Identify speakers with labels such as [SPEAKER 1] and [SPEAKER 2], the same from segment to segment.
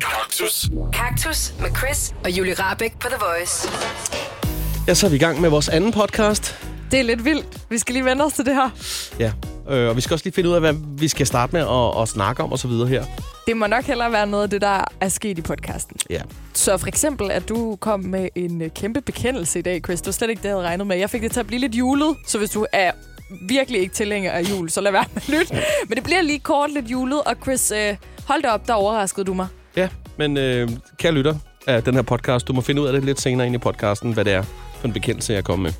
[SPEAKER 1] Kaktus.
[SPEAKER 2] Kaktus med Chris og Julie Rabeck på The Voice.
[SPEAKER 3] Ja, så er vi i gang med vores anden podcast.
[SPEAKER 4] Det er lidt vildt. Vi skal lige vende os til det her.
[SPEAKER 3] Ja, øh, og vi skal også lige finde ud af, hvad vi skal starte med at, at snakke om og så videre her.
[SPEAKER 4] Det må nok hellere være noget af det, der er sket i podcasten.
[SPEAKER 3] Ja.
[SPEAKER 4] Så for eksempel, at du kom med en øh, kæmpe bekendelse i dag, Chris. Det var slet ikke det, jeg havde regnet med. Jeg fik det til at blive lidt julet, så hvis du er virkelig ikke tilhænger af jul, så lad være med at lytte. Men det bliver lige kort lidt julet, og Chris, øh, hold da op, der overraskede du mig.
[SPEAKER 3] Ja, men øh, kære lytter af den her podcast, du må finde ud af det lidt senere ind i podcasten, hvad det er for en bekendelse, jeg kommer med.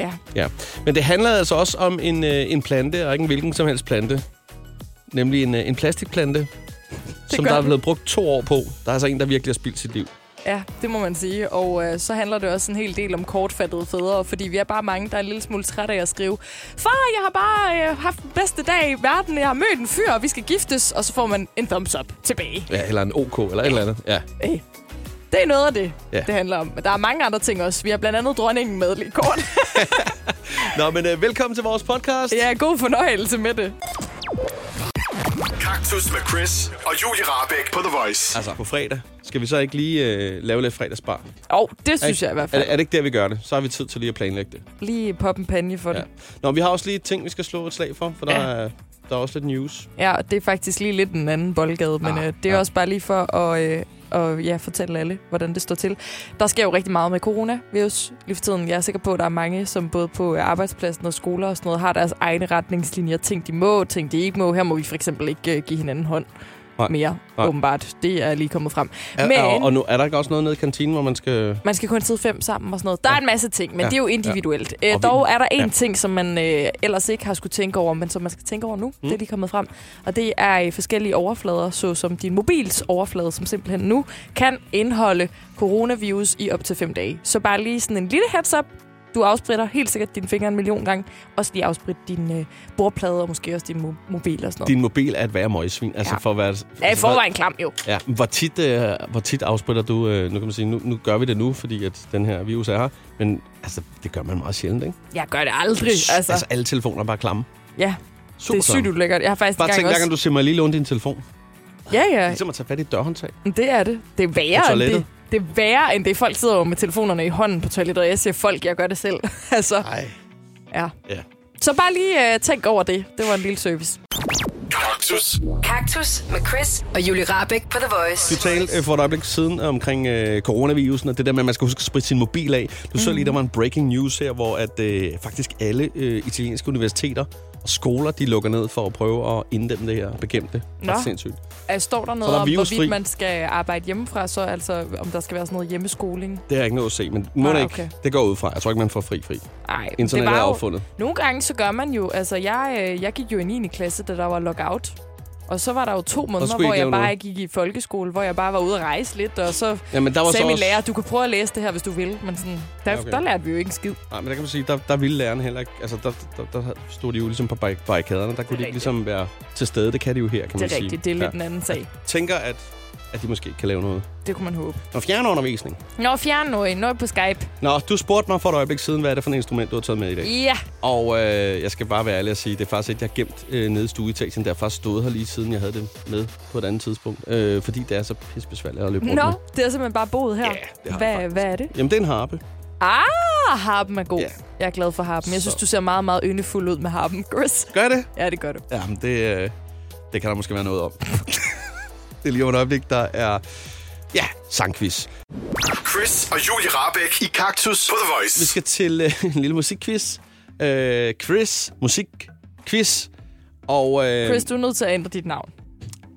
[SPEAKER 4] Ja,
[SPEAKER 3] Ja. Men det handler altså også om en, øh, en plante, og ikke en hvilken som helst plante. Nemlig en, øh, en plastikplante, som
[SPEAKER 4] gør
[SPEAKER 3] der er
[SPEAKER 4] den.
[SPEAKER 3] blevet brugt to år på. Der er altså en, der virkelig har spildt sit liv.
[SPEAKER 4] ja, det må man sige. Og øh, så handler det også en hel del om kortfattede fædre, fordi vi er bare mange, der er en lille smule trætte af at skrive, far, jeg har bare øh, haft den bedste dag i verden, jeg har mødt en fyr, og vi skal giftes, og så får man en thumbs up tilbage.
[SPEAKER 3] Ja, eller en OK, eller et eller andet. Ja.
[SPEAKER 4] Hey. Det er noget af det,
[SPEAKER 3] Ja.
[SPEAKER 4] ja. det handler om. Men Der er mange andre ting også. Vi har blandt andet dronningen med lige kort.
[SPEAKER 3] Nå, men øh, velkommen til vores podcast.
[SPEAKER 4] ja, god fornøjelse med det.
[SPEAKER 1] Kaktus med Chris og Julie Rabeck på The Voice.
[SPEAKER 3] Altså, på fredag skal vi så ikke lige øh, lave lidt fredagsbar?
[SPEAKER 4] Og oh, det synes jeg i hvert fald.
[SPEAKER 3] Er, det- er det ikke der, vi gør det? Så har vi tid til lige at planlægge det.
[SPEAKER 4] Lige pop en panje for
[SPEAKER 3] Ja.
[SPEAKER 4] det.
[SPEAKER 3] Nå, vi har også lige et ting, vi skal slå et slag for, for der, ja. er, der er også lidt news.
[SPEAKER 4] Ja, og det er faktisk lige lidt en anden boldgade, men
[SPEAKER 3] Ah,
[SPEAKER 4] øh, det er
[SPEAKER 3] ja.
[SPEAKER 4] også bare lige for at øh, og, ja, fortælle alle, hvordan det står til. Der sker jo rigtig meget med coronavirus lige for tiden. Jeg er sikker på, at der er mange, som både på øh, arbejdspladsen og skoler og sådan noget, har deres egne retningslinjer. Ting, de må, ting, de ikke må. Her må vi for eksempel ikke øh, give hinanden hånd
[SPEAKER 3] Nej.
[SPEAKER 4] mere,
[SPEAKER 3] Nej.
[SPEAKER 4] åbenbart. Det er lige kommet frem.
[SPEAKER 3] Er, er, og nu er der ikke også noget nede i kantinen, hvor man skal...
[SPEAKER 4] Man skal kun sidde fem sammen og sådan noget. Der er en masse ting, men
[SPEAKER 3] Ja.
[SPEAKER 4] ja. det er jo individuelt.
[SPEAKER 3] Ja.
[SPEAKER 4] Ja.
[SPEAKER 3] Og vi-
[SPEAKER 4] dog er der en
[SPEAKER 3] ja.
[SPEAKER 4] ja. ting, som man øh, ellers ikke har skulle tænke over, men som man skal tænke over nu. Mm. Det er lige kommet frem. Og det er øh, forskellige overflader, såsom din mobils overflade, som simpelthen nu kan indeholde coronavirus i op til fem dage. Så bare lige sådan en lille heads up. Du afspritter helt sikkert dine fingre en million gange. Også lige afsprit din øh, bordplade og måske også din mo- mobil og sådan noget.
[SPEAKER 3] Din mobil er et værre møgsvin. Altså,
[SPEAKER 4] Ja.
[SPEAKER 3] for at være...
[SPEAKER 4] Ja, i forvejen klam jo.
[SPEAKER 3] Ja, men hvor tit, øh, hvor tit afspiller du... Øh, nu kan man sige, nu, nu gør vi det nu, fordi at den her virus er her. Men altså, det gør man meget sjældent, ikke?
[SPEAKER 4] Jeg gør det aldrig.
[SPEAKER 3] altså,
[SPEAKER 4] Altså, altså
[SPEAKER 3] alle telefoner er bare klamme.
[SPEAKER 4] ja,
[SPEAKER 3] Super
[SPEAKER 4] det er sygt
[SPEAKER 3] klamme.
[SPEAKER 4] ulækkert. Jeg har faktisk
[SPEAKER 3] Bare
[SPEAKER 4] engang
[SPEAKER 3] tænk, hver gang
[SPEAKER 4] også...
[SPEAKER 3] du ser mig lige låne din telefon.
[SPEAKER 4] Ja, ja.
[SPEAKER 3] Ligesom at tage fat i et dørhåndtag.
[SPEAKER 4] Men Det er det. Det er
[SPEAKER 3] På
[SPEAKER 4] værre end
[SPEAKER 3] toilettet.
[SPEAKER 4] det. Det er værre end det. Folk sidder jo med telefonerne i hånden på toilettet, og jeg siger folk, jeg gør det selv. altså,
[SPEAKER 3] Nej.
[SPEAKER 4] ja.
[SPEAKER 3] Ja.
[SPEAKER 4] Så bare lige øh, tænk over det. Det var en lille service.
[SPEAKER 1] Kaktus.
[SPEAKER 2] Kaktus med Chris og Julie Rabeck på The Voice.
[SPEAKER 3] Du talte øh, for et øjeblik siden omkring øh, coronavirusen, og det der med, at man skal huske at spritte sin mobil af. Du så lige, der
[SPEAKER 4] Mm.
[SPEAKER 3] var en breaking news her, hvor at øh, faktisk alle øh, italienske universiteter og skoler, de lukker ned for at prøve at inddæmme det her og bekæmpe det.
[SPEAKER 4] Nå.
[SPEAKER 3] Ret sindssygt.
[SPEAKER 4] Øh, Står der
[SPEAKER 3] Så
[SPEAKER 4] noget
[SPEAKER 3] der er
[SPEAKER 4] om,
[SPEAKER 3] virusfri.
[SPEAKER 4] hvorvidt man skal arbejde hjemmefra, så altså om der skal være sådan noget hjemmeskoling?
[SPEAKER 3] Det har jeg ikke noget at se, men må
[SPEAKER 4] Ah,
[SPEAKER 3] det
[SPEAKER 4] okay.
[SPEAKER 3] ikke. Det går ud fra. Jeg tror ikke, man får fri fri.
[SPEAKER 4] Nej,
[SPEAKER 3] Internet er affundet.
[SPEAKER 4] Nogle gange så gør man jo, altså jeg, øh, jeg gik jo i 9. klasse, da der var lockout. Og så var der jo to måneder,
[SPEAKER 3] skulle I
[SPEAKER 4] hvor
[SPEAKER 3] ikke
[SPEAKER 4] jeg
[SPEAKER 3] lave
[SPEAKER 4] bare
[SPEAKER 3] noget.
[SPEAKER 4] gik i folkeskole, hvor jeg bare var ude at rejse lidt, og så
[SPEAKER 3] Jamen, der var
[SPEAKER 4] sagde
[SPEAKER 3] så
[SPEAKER 4] min
[SPEAKER 3] også...
[SPEAKER 4] lærer, du kan prøve at læse det her, hvis du vil. Men sådan, der,
[SPEAKER 3] Ja, okay.
[SPEAKER 4] okay. der lærte vi jo ikke en skid.
[SPEAKER 3] Nej, men der kan man sige, der, der ville lærerne heller ikke... Altså, der, der, der stod de jo ligesom på barri- barrikaderne. Der kunne de ikke
[SPEAKER 4] rigtigt.
[SPEAKER 3] ligesom være til stede. Det kan de jo her, kan man
[SPEAKER 4] Det er
[SPEAKER 3] sige.
[SPEAKER 4] rigtigt, det er lidt ja. en anden sag.
[SPEAKER 3] Tænker, at, at de måske ikke kan lave noget.
[SPEAKER 4] Det kunne man håbe.
[SPEAKER 3] Og fjernundervisning.
[SPEAKER 4] Nå, fjern noget. Noget på Skype.
[SPEAKER 3] Nå, du spurgte mig for et øjeblik siden, hvad er det for et instrument, du har taget med i dag?
[SPEAKER 4] Ja.
[SPEAKER 3] Og øh, jeg skal bare være ærlig og sige, det er faktisk et, jeg har gemt øh, nede i stueetagen. Det har faktisk stået her lige siden, jeg havde det med på et andet tidspunkt. Øh, fordi det er så pissebesværligt at løbe rundt
[SPEAKER 4] Nå,
[SPEAKER 3] med.
[SPEAKER 4] det er simpelthen bare boet her.
[SPEAKER 3] Ja, det har jeg
[SPEAKER 4] hvad,
[SPEAKER 3] faktisk.
[SPEAKER 4] hvad er det?
[SPEAKER 3] Jamen, det er en harpe.
[SPEAKER 4] Ah, harpen er god.
[SPEAKER 3] Ja.
[SPEAKER 4] Jeg er glad for harpen. Jeg synes,
[SPEAKER 3] Så.
[SPEAKER 4] du ser meget, meget yndefuld ud med harpen, Chris.
[SPEAKER 3] Gør jeg det?
[SPEAKER 4] Ja, det gør du.
[SPEAKER 3] Jamen, det, øh, det kan der måske være noget om. det er lige om et øjeblik, der er... Ja, sangquiz.
[SPEAKER 1] Chris og Julie Rabeck i Kaktus på The Voice.
[SPEAKER 3] Vi skal til øh, en lille musikquiz. Øh, Chris, musikquiz. Og, øh,
[SPEAKER 4] Chris, du er nødt til at ændre dit navn.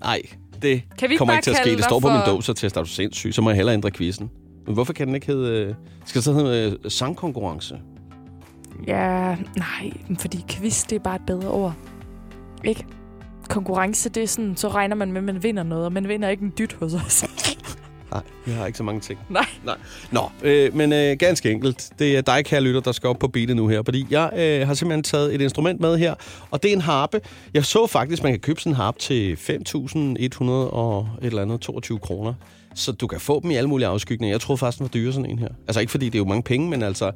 [SPEAKER 3] Nej, det
[SPEAKER 4] Kan vi ikke
[SPEAKER 3] kommer
[SPEAKER 4] bare
[SPEAKER 3] ikke til at ske.
[SPEAKER 4] kalde
[SPEAKER 3] Det
[SPEAKER 4] dig
[SPEAKER 3] står på
[SPEAKER 4] for-
[SPEAKER 3] min dåsertest, er du sindssyg, så må jeg hellere ændre quizzen. Men hvorfor kan den ikke hedde... øh, Skal det så hedde øh, sangkonkurrence?
[SPEAKER 4] Ja, nej, fordi quiz, det er bare et bedre ord. Ikke? Konkurrence, det er sådan, så regner man med, at man vinder noget, og man vinder ikke en dyt hos os.
[SPEAKER 3] Nej, vi har ikke så mange ting.
[SPEAKER 4] nej.
[SPEAKER 3] Nej. Nå, øh, men øh, ganske enkelt. Det er dig, kære lytter, der skal op på beatet nu her, fordi jeg øh, har simpelthen taget et instrument med her, og det er en harpe. Jeg så faktisk, man kan købe sådan en harpe til 5.100 og et eller andet 22 kroner. Så du kan få dem i alle mulige afskygninger. Jeg troede faktisk, den var dyre sådan en her. Altså ikke fordi det er jo mange penge, men altså...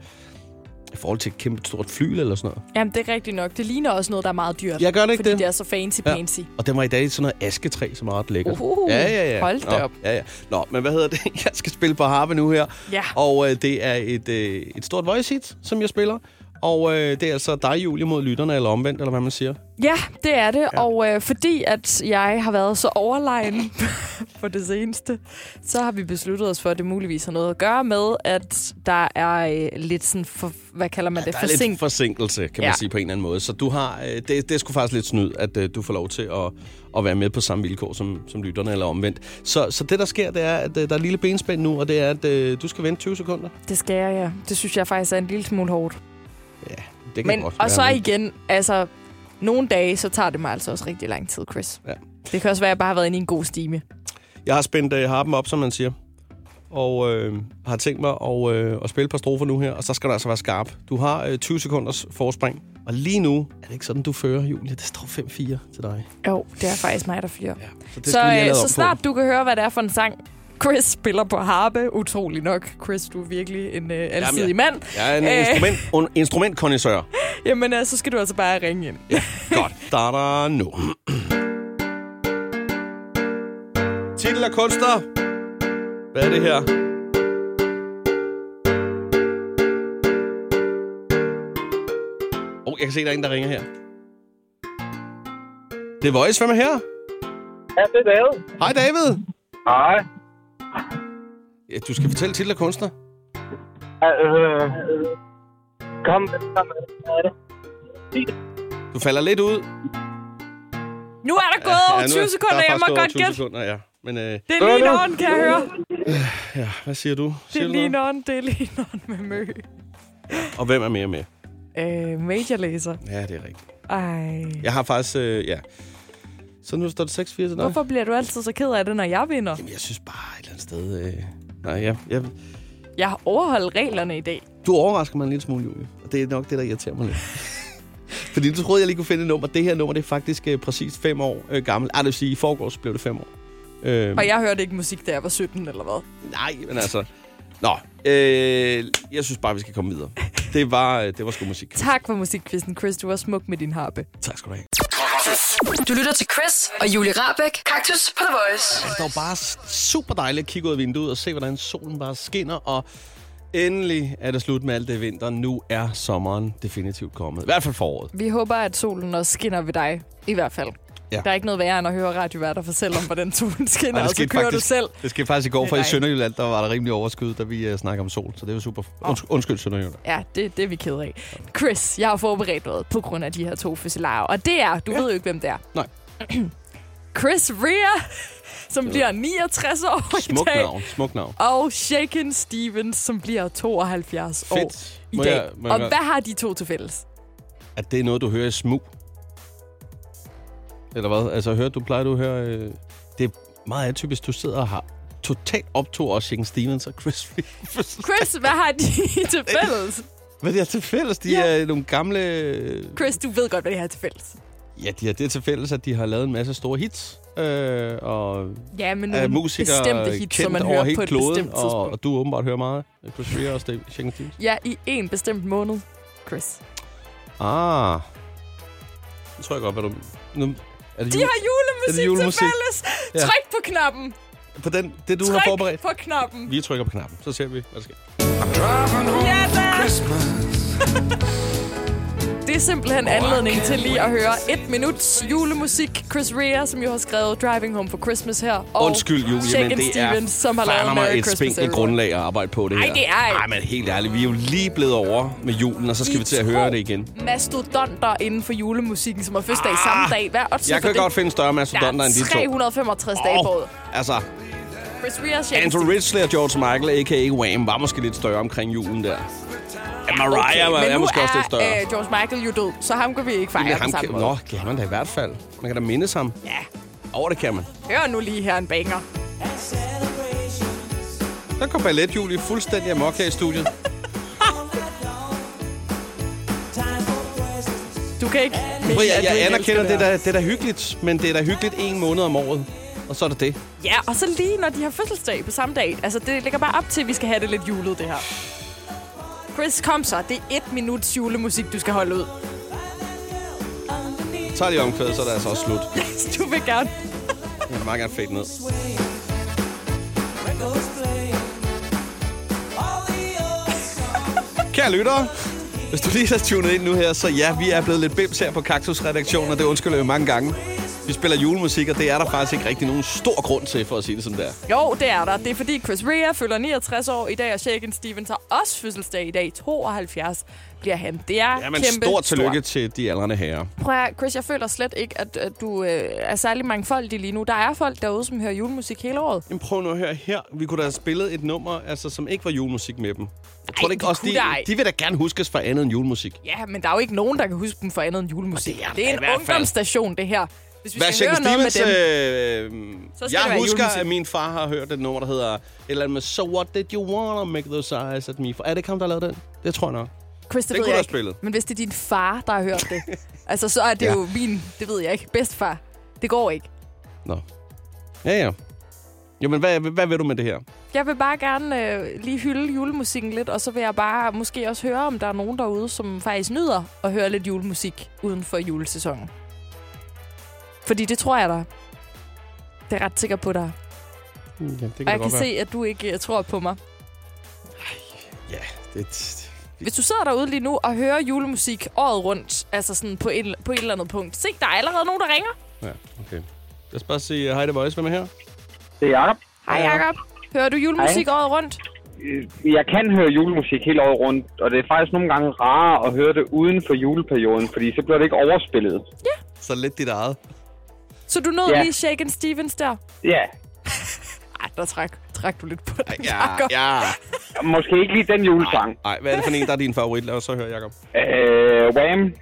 [SPEAKER 3] I forhold til et kæmpe stort fly eller sådan noget.
[SPEAKER 4] Jamen, det er rigtigt nok. Det ligner også noget, der er meget dyrt.
[SPEAKER 3] Jeg gør det ikke
[SPEAKER 4] fordi
[SPEAKER 3] det.
[SPEAKER 4] det er så fancy-pansy. Ja.
[SPEAKER 3] Og den var i dag i sådan noget asketræ, som er ret lækkert.
[SPEAKER 4] Uhuh.
[SPEAKER 3] ja, ja, ja.
[SPEAKER 4] Hold da
[SPEAKER 3] Nå,
[SPEAKER 4] op.
[SPEAKER 3] Ja, ja. Nå, men hvad hedder det? Jeg skal spille på harpe nu her.
[SPEAKER 4] Ja.
[SPEAKER 3] Og øh, det er et, øh, et stort voice hit, som jeg spiller. Og øh, det er altså dig, Julie, mod lytterne, eller omvendt, eller hvad man siger.
[SPEAKER 4] Ja, det er det. Ja. Og øh, fordi at jeg har været så overlegen på det seneste, så har vi besluttet os for, at det muligvis har noget at gøre med, at der er øh, lidt sådan, for, hvad kalder man det,
[SPEAKER 3] Der er lidt
[SPEAKER 4] forsinket.
[SPEAKER 3] forsinkelse, kan man
[SPEAKER 4] Ja.
[SPEAKER 3] sige på en eller anden måde. Så du har, øh, det, det er sgu faktisk lidt snyd, at øh, du får lov til at, at være med på samme vilkår som, som lytterne, eller omvendt. Så, så det, der sker, det er, at øh, der er et lille benspænd nu, og det er, at øh, du skal vente 20 sekunder.
[SPEAKER 4] Det skal jeg, ja. Det synes jeg faktisk er en lille smule hårdt.
[SPEAKER 3] Det kan
[SPEAKER 4] Men,
[SPEAKER 3] godt
[SPEAKER 4] og
[SPEAKER 3] være,
[SPEAKER 4] så
[SPEAKER 3] men-
[SPEAKER 4] igen, altså, nogle dage, så tager det mig altså også rigtig lang tid, Chris.
[SPEAKER 3] Ja.
[SPEAKER 4] Det kan også være, at jeg bare har været inde i en god stime.
[SPEAKER 3] Jeg har spændt øh, harpen op, som man siger, og øh, har tænkt mig at, øh, at spille et par strofer nu her, og så skal du altså være skarp. Du har øh, 20 sekunders forspring, og lige nu er det ikke sådan, du fører, Julie. Det står 5-4 til dig.
[SPEAKER 4] Jo, det er faktisk mig, der fyrer.
[SPEAKER 3] Ja, så det
[SPEAKER 4] Så,
[SPEAKER 3] vi have
[SPEAKER 4] øh,
[SPEAKER 3] lavet
[SPEAKER 4] så
[SPEAKER 3] om på.
[SPEAKER 4] snart du kan høre, hvad det er for en sang, Chris spiller på harpe. Utrolig nok. Chris, du er virkelig en øh, alsidig
[SPEAKER 3] jeg-
[SPEAKER 4] mand.
[SPEAKER 3] Jeg er en
[SPEAKER 4] Øh.
[SPEAKER 3] instrument, un, instrumentkondensør.
[SPEAKER 4] Jamen, øh, så skal du altså bare ringe ind.
[SPEAKER 3] Godt, starter nu. Titel af kunstner. Hvad er det her? Oh, jeg kan se, der er en, der ringer her. Det er Voice. Hvem er her?
[SPEAKER 5] Ja, det er David.
[SPEAKER 3] Hej, David.
[SPEAKER 5] Hej.
[SPEAKER 3] Ja, du skal fortælle titel af kunstner.
[SPEAKER 5] Øh, kom, kom, hvad er det?
[SPEAKER 3] Du falder lidt ud.
[SPEAKER 4] Nu er der gået over
[SPEAKER 3] nu
[SPEAKER 4] 20
[SPEAKER 3] er-
[SPEAKER 4] sekunder.
[SPEAKER 3] der er
[SPEAKER 4] Jeg må
[SPEAKER 3] faktisk gået over
[SPEAKER 4] godt
[SPEAKER 3] 20
[SPEAKER 4] gætte.
[SPEAKER 3] sekunder, ja. Men øh,
[SPEAKER 4] Det er lige nogen, kan jeg høre.
[SPEAKER 3] ja, hvad siger du?
[SPEAKER 4] Det
[SPEAKER 3] Siger
[SPEAKER 4] er
[SPEAKER 3] du
[SPEAKER 4] lige
[SPEAKER 3] noget?
[SPEAKER 4] nogen. Det er lige nogen med mø.
[SPEAKER 3] Og hvem er mere med?
[SPEAKER 4] Øh, majorlæser.
[SPEAKER 3] Ja, det er rigtigt.
[SPEAKER 4] Ej.
[SPEAKER 3] Jeg har faktisk... Øh, ja. Så nu står det 6-4 til dig.
[SPEAKER 4] Hvorfor bliver du altid så ked af det, når jeg vinder?
[SPEAKER 3] Jamen, jeg synes bare et eller andet sted... Øh... Nej, jeg, jeg...
[SPEAKER 4] Jeg har overholdt reglerne i dag.
[SPEAKER 3] Du overrasker mig en lille smule, Julie. Og det er nok det, der irriterer mig lidt. Fordi du troede, jeg lige kunne finde et nummer. Det her nummer, det er faktisk øh, præcis 5 år øh, gammelt. Ej, det vil sige, i forgårs blev det 5 år. Øh,
[SPEAKER 4] Og jeg hørte ikke musik, da jeg var 17 eller hvad.
[SPEAKER 3] Nej, men altså... Nå, øh, jeg synes bare, vi skal komme videre. Det var, øh, det var sgu musik.
[SPEAKER 4] Tak for musikkvisten, Chris. Du var smuk med din harpe.
[SPEAKER 3] Tak skal du have.
[SPEAKER 2] Du lytter til Chris og Julie Rabeck. Kaktus på The Voice.
[SPEAKER 3] Det var bare super dejligt at kigge ud af vinduet og se, hvordan solen bare skinner, og endelig er det slut med alt det vinter. Nu er sommeren definitivt kommet. I hvert fald foråret.
[SPEAKER 4] Vi håber, at solen også skinner ved dig. I hvert fald.
[SPEAKER 3] Ja.
[SPEAKER 4] Ja. Der er ikke noget værre end at høre radioværter fortælle om, hvordan solen skinner,
[SPEAKER 3] Nej,
[SPEAKER 4] og
[SPEAKER 3] det
[SPEAKER 4] så
[SPEAKER 3] skete,
[SPEAKER 4] kører
[SPEAKER 3] faktisk,
[SPEAKER 4] du selv.
[SPEAKER 3] det skete faktisk i går,
[SPEAKER 4] Det er
[SPEAKER 3] for i
[SPEAKER 4] dejligt.
[SPEAKER 3] Sønderjylland, der var der rimelig overskud, da vi uh, snakkede om sol. Så det var super. Unds- undskyld, Sønderjylland.
[SPEAKER 4] Ja, det, det er vi ked af. Chris, jeg har forberedt noget på grund af de her to fødselarer. Og det er, du ja. ved jo ikke, hvem det er.
[SPEAKER 3] Nej.
[SPEAKER 4] Chris Rea, som bliver 69 år
[SPEAKER 3] Smuk
[SPEAKER 4] i dag.
[SPEAKER 3] navn, smuk navn.
[SPEAKER 4] Og Shaken Stevens, som bliver 72 år
[SPEAKER 3] Fedt.
[SPEAKER 4] i
[SPEAKER 3] Må
[SPEAKER 4] dag.
[SPEAKER 3] jeg- må jeg
[SPEAKER 4] og
[SPEAKER 3] godt-
[SPEAKER 4] hvad har de to til fælles?
[SPEAKER 3] At det er noget, du hører i smug. Eller hvad? Altså, hørte du, plejer du at høre... Øh, det er meget atypisk, du sidder og har totalt optog også Shaken Stevens og Chris Rea.
[SPEAKER 4] Chris, hvad har de til fælles?
[SPEAKER 3] Hvad de har til fælles, de
[SPEAKER 4] Ja.
[SPEAKER 3] er nogle gamle...
[SPEAKER 4] Chris, du ved godt, hvad de har til fælles.
[SPEAKER 3] Ja, de har det til fælles, at de har lavet en masse store hits. Øh, og
[SPEAKER 4] Ja, men
[SPEAKER 3] er
[SPEAKER 4] nogle
[SPEAKER 3] musikere
[SPEAKER 4] bestemte hits,
[SPEAKER 3] kendt
[SPEAKER 4] som man
[SPEAKER 3] over
[SPEAKER 4] hører
[SPEAKER 3] hele
[SPEAKER 4] på et
[SPEAKER 3] kloden,
[SPEAKER 4] bestemt
[SPEAKER 3] og,
[SPEAKER 4] tidspunkt.
[SPEAKER 3] og du åbenbart hører meget. af Chris Rea og Steve- Shaken Stevens.
[SPEAKER 4] Ja, i en bestemt måned, Chris.
[SPEAKER 3] Ah. Nu tror jeg godt, hvad du... Nu, er det
[SPEAKER 4] De
[SPEAKER 3] jul-
[SPEAKER 4] har
[SPEAKER 3] Er det
[SPEAKER 4] julemusik,
[SPEAKER 3] julemusik?
[SPEAKER 4] til fælles.
[SPEAKER 3] Ja.
[SPEAKER 4] Ja. Tryk på knappen.
[SPEAKER 3] På den, det, du
[SPEAKER 4] Tryk
[SPEAKER 3] har forberedt.
[SPEAKER 4] på knappen.
[SPEAKER 3] Vi trykker på knappen, så ser vi, hvad der sker.
[SPEAKER 4] Ja, da. Det er simpelthen anledning til lige at høre et minuts julemusik. Chris Rea, som jo har skrevet Driving Home for Christmas her. Og
[SPEAKER 3] Undskyld, Julie,
[SPEAKER 4] Shaken
[SPEAKER 3] men det er
[SPEAKER 4] Stevens, som har lavet
[SPEAKER 3] fandme
[SPEAKER 4] Merry
[SPEAKER 3] et
[SPEAKER 4] Christmas
[SPEAKER 3] spinkelt
[SPEAKER 4] Everyone.
[SPEAKER 3] grundlag at arbejde på det
[SPEAKER 4] Ej,
[SPEAKER 3] her.
[SPEAKER 4] det er ikke.
[SPEAKER 3] Nej, men helt ærligt, vi er jo lige blevet over med julen, og så skal
[SPEAKER 4] I
[SPEAKER 3] vi til at
[SPEAKER 4] to
[SPEAKER 3] høre det igen.
[SPEAKER 4] mastodonter inden for julemusikken, som har fødselsdag ah, samme dag. Hvad er
[SPEAKER 3] Jeg kan godt finde større mastodonter end de to.
[SPEAKER 4] 365 dage på året.
[SPEAKER 3] Åh, altså,
[SPEAKER 4] Chris Rea, Shaken
[SPEAKER 3] Andrew Ridgely og George Michael, a.k.a. Wham, var måske lidt større omkring julen der. Ja, Mariah var,
[SPEAKER 4] men
[SPEAKER 3] er
[SPEAKER 4] nu
[SPEAKER 3] måske
[SPEAKER 4] er
[SPEAKER 3] også lidt større.
[SPEAKER 4] Øh, George Michael jo død, så ham kan vi ikke fejre
[SPEAKER 3] Jamen,
[SPEAKER 4] på
[SPEAKER 3] ham
[SPEAKER 4] samme
[SPEAKER 3] kan,
[SPEAKER 4] måde.
[SPEAKER 3] nå, det kan man da i hvert fald. Man kan da mindes ham.
[SPEAKER 4] Ja,
[SPEAKER 3] Over det kan man.
[SPEAKER 4] hør nu lige her en banger.
[SPEAKER 3] Der kom ballet, Julie, fuldstændig amok her i studiet.
[SPEAKER 4] Du kan ikke...
[SPEAKER 3] Prøv,
[SPEAKER 4] mene,
[SPEAKER 3] jeg,
[SPEAKER 4] at du
[SPEAKER 3] jeg
[SPEAKER 4] ikke
[SPEAKER 3] anerkender, det
[SPEAKER 4] elsker
[SPEAKER 3] er da, det er da hyggeligt, men det er da hyggeligt en måned om året. Og så er det det.
[SPEAKER 4] her. Ja, og så lige når de har fødselsdag på samme dag. Altså, det ligger bare op til, at vi skal have det lidt julet, det her. Chris, kom så. Det er et minuts julemusik, du skal holde ud.
[SPEAKER 3] Tag lige omkvædet, så er det altså også slut.
[SPEAKER 4] du vil gerne.
[SPEAKER 3] Jeg vil meget gerne fade ned. Kære lyttere, hvis du lige har tunet ind nu her, så ja, vi er blevet lidt bims her på Kaktus-redaktionen, og det undskylder jeg jo mange gange. Vi spiller julemusik, og det er der faktisk ikke rigtig nogen stor grund til, for at sige det som det er.
[SPEAKER 4] Jo, det er der. Det er fordi Chris Rea fylder 69 år i dag, og Shaken Stevens har også fødselsdag i dag. 72 bliver han. Det er
[SPEAKER 3] Ja, men
[SPEAKER 4] kæmpe
[SPEAKER 3] stort tillykke til de aldrende herrer.
[SPEAKER 4] Stort. Prøv at, høre, Chris, jeg føler slet ikke, at, at du øh, er særlig mangfoldig lige nu. Der er folk derude, som hører julemusik hele året.
[SPEAKER 3] Jamen prøv nu at høre her. Vi kunne da have spillet et nummer, altså, som ikke var julemusik med dem. Jeg tror
[SPEAKER 4] Ej,
[SPEAKER 3] da ikke
[SPEAKER 4] vi
[SPEAKER 3] også,
[SPEAKER 4] kunne
[SPEAKER 3] de,
[SPEAKER 4] da ej.
[SPEAKER 3] de vil da gerne huskes for andet end julemusik.
[SPEAKER 4] Ja, men der er jo ikke nogen, der kan huske dem for andet end julemusik.
[SPEAKER 3] Og det er der
[SPEAKER 4] det
[SPEAKER 3] i
[SPEAKER 4] er en
[SPEAKER 3] hvert fald.
[SPEAKER 4] ungdomsstation, det her. Hvis vi
[SPEAKER 3] Hvad
[SPEAKER 4] skal
[SPEAKER 3] Shaken
[SPEAKER 4] høre noget med
[SPEAKER 3] Stevens,
[SPEAKER 4] dem.
[SPEAKER 3] øh,
[SPEAKER 4] Så skal det
[SPEAKER 3] jeg
[SPEAKER 4] være
[SPEAKER 3] husker,
[SPEAKER 4] julemusik.
[SPEAKER 3] at min far har hørt et nummer, der hedder et eller andet med So what did you wanna make those eyes at me for? Er det ikke ham, der lavede den? øh, Det tror jeg nok.
[SPEAKER 4] Chris, det,
[SPEAKER 3] Den
[SPEAKER 4] ved
[SPEAKER 3] kunne du
[SPEAKER 4] jeg ikke.
[SPEAKER 3] have spillet.
[SPEAKER 4] Men hvis det er din far, der har hørt det, altså så er det
[SPEAKER 3] Ja.
[SPEAKER 4] ja. jo min, det ved jeg ikke, bedstfar. Det går ikke.
[SPEAKER 3] Nå. Ja, ja. Jamen, hvad, hvad vil du med det her?
[SPEAKER 4] Jeg vil bare gerne øh, lige hylde julemusikken lidt, og så vil jeg bare måske også høre, om der er nogen derude, som faktisk nyder at høre lidt julemusik uden for julesæsonen. Fordi det tror jeg der. er. Det er jeg ret sikker på dig.
[SPEAKER 3] Hmm, Ja, det kan
[SPEAKER 4] Og jeg kan se, at du ikke øh, tror på mig.
[SPEAKER 3] Ja, det...
[SPEAKER 4] Hvis du sidder derude lige nu og hører julemusik året rundt, altså sådan på et, på et eller andet punkt, se, der er allerede nogen, der ringer.
[SPEAKER 3] Ja, okay. Lad os bare sige hej, det Voice. Hvem er her?
[SPEAKER 5] Det er Jacob.
[SPEAKER 4] Hej, Jacob. Hører du julemusik året rundt?
[SPEAKER 5] Jeg kan høre julemusik hele året rundt, og det er faktisk nogle gange rarere at høre det uden for juleperioden, fordi så bliver det ikke overspillet.
[SPEAKER 3] Så lidt dit eget.
[SPEAKER 4] Så du nåede
[SPEAKER 5] Ja.
[SPEAKER 4] lige Shaken Stevens der?
[SPEAKER 5] Ja,
[SPEAKER 4] Ej, der træk, træk du lidt på dig,
[SPEAKER 3] Ja,
[SPEAKER 4] Jacob.
[SPEAKER 3] ja.
[SPEAKER 5] måske ikke lige den julesang.
[SPEAKER 3] Ah, Ej, hvad er det for en, der er din favorit? Lad os så høre, Jacob.
[SPEAKER 5] Øh, Wham!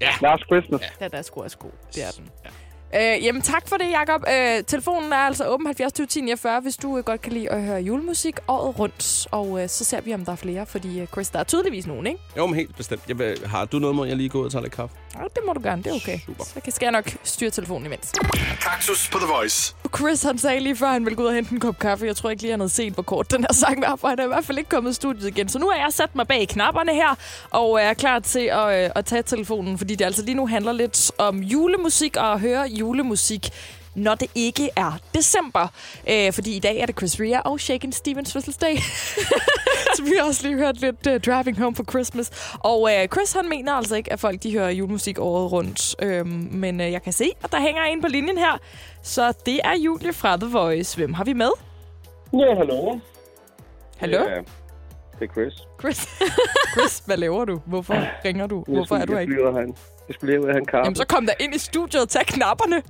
[SPEAKER 3] Ja.
[SPEAKER 5] Last Christmas.
[SPEAKER 4] Den er sgu også god. Det er den. Ja. Øh, jamen tak for det, Jacob. Øh, telefonen er altså åben 70 20 10 49, hvis du øh, godt kan lide at høre julemusik året rundt. Og øh, så ser vi, om der er flere, fordi øh, Chris, der er tydeligvis nogen, ikke?
[SPEAKER 3] Jo, men helt bestemt. Jeg, vil- har du noget mod, jeg lige går ud og tager lidt kaffe?
[SPEAKER 4] Ja, det må du gerne, det er okay.
[SPEAKER 3] Super.
[SPEAKER 4] Så kan, skal jeg nok styre telefonen imens.
[SPEAKER 1] Kaktus på The Voice.
[SPEAKER 4] Chris, han sagde lige før, han ville gå ud og hente en kop kaffe. Jeg tror ikke lige, han havde set, hvor kort den her sang var, for han er i hvert fald ikke kommet i studiet igen. Så nu er jeg sat mig bag knapperne her, og er klar til at, øh, at tage telefonen, fordi det altså lige nu handler lidt om julemusik og at høre julemusik når det ikke er december. Øh, fordi i dag er det Chris Rea og Shaken Stevens fødselsdag. Så vi har også lige hørt lidt uh, Driving Home for Christmas. Og uh, Chris, han mener altså ikke, at folk de hører julemusik året rundt. Øhm, men uh, jeg kan se, at der hænger en på linjen her. Så det er Julie fra The Voice. Hvem har vi med?
[SPEAKER 5] Ja, hallo.
[SPEAKER 4] Hallo?
[SPEAKER 5] Ja, det er Chris.
[SPEAKER 4] Chris. Chris, hvad laver du? Hvorfor ringer du? Hvorfor er du her
[SPEAKER 5] jeg
[SPEAKER 4] ikke?
[SPEAKER 5] flyder han. Jeg skulle lige ud af han kaffe.
[SPEAKER 4] Jamen, så kom der ind i studiet og tag knapperne.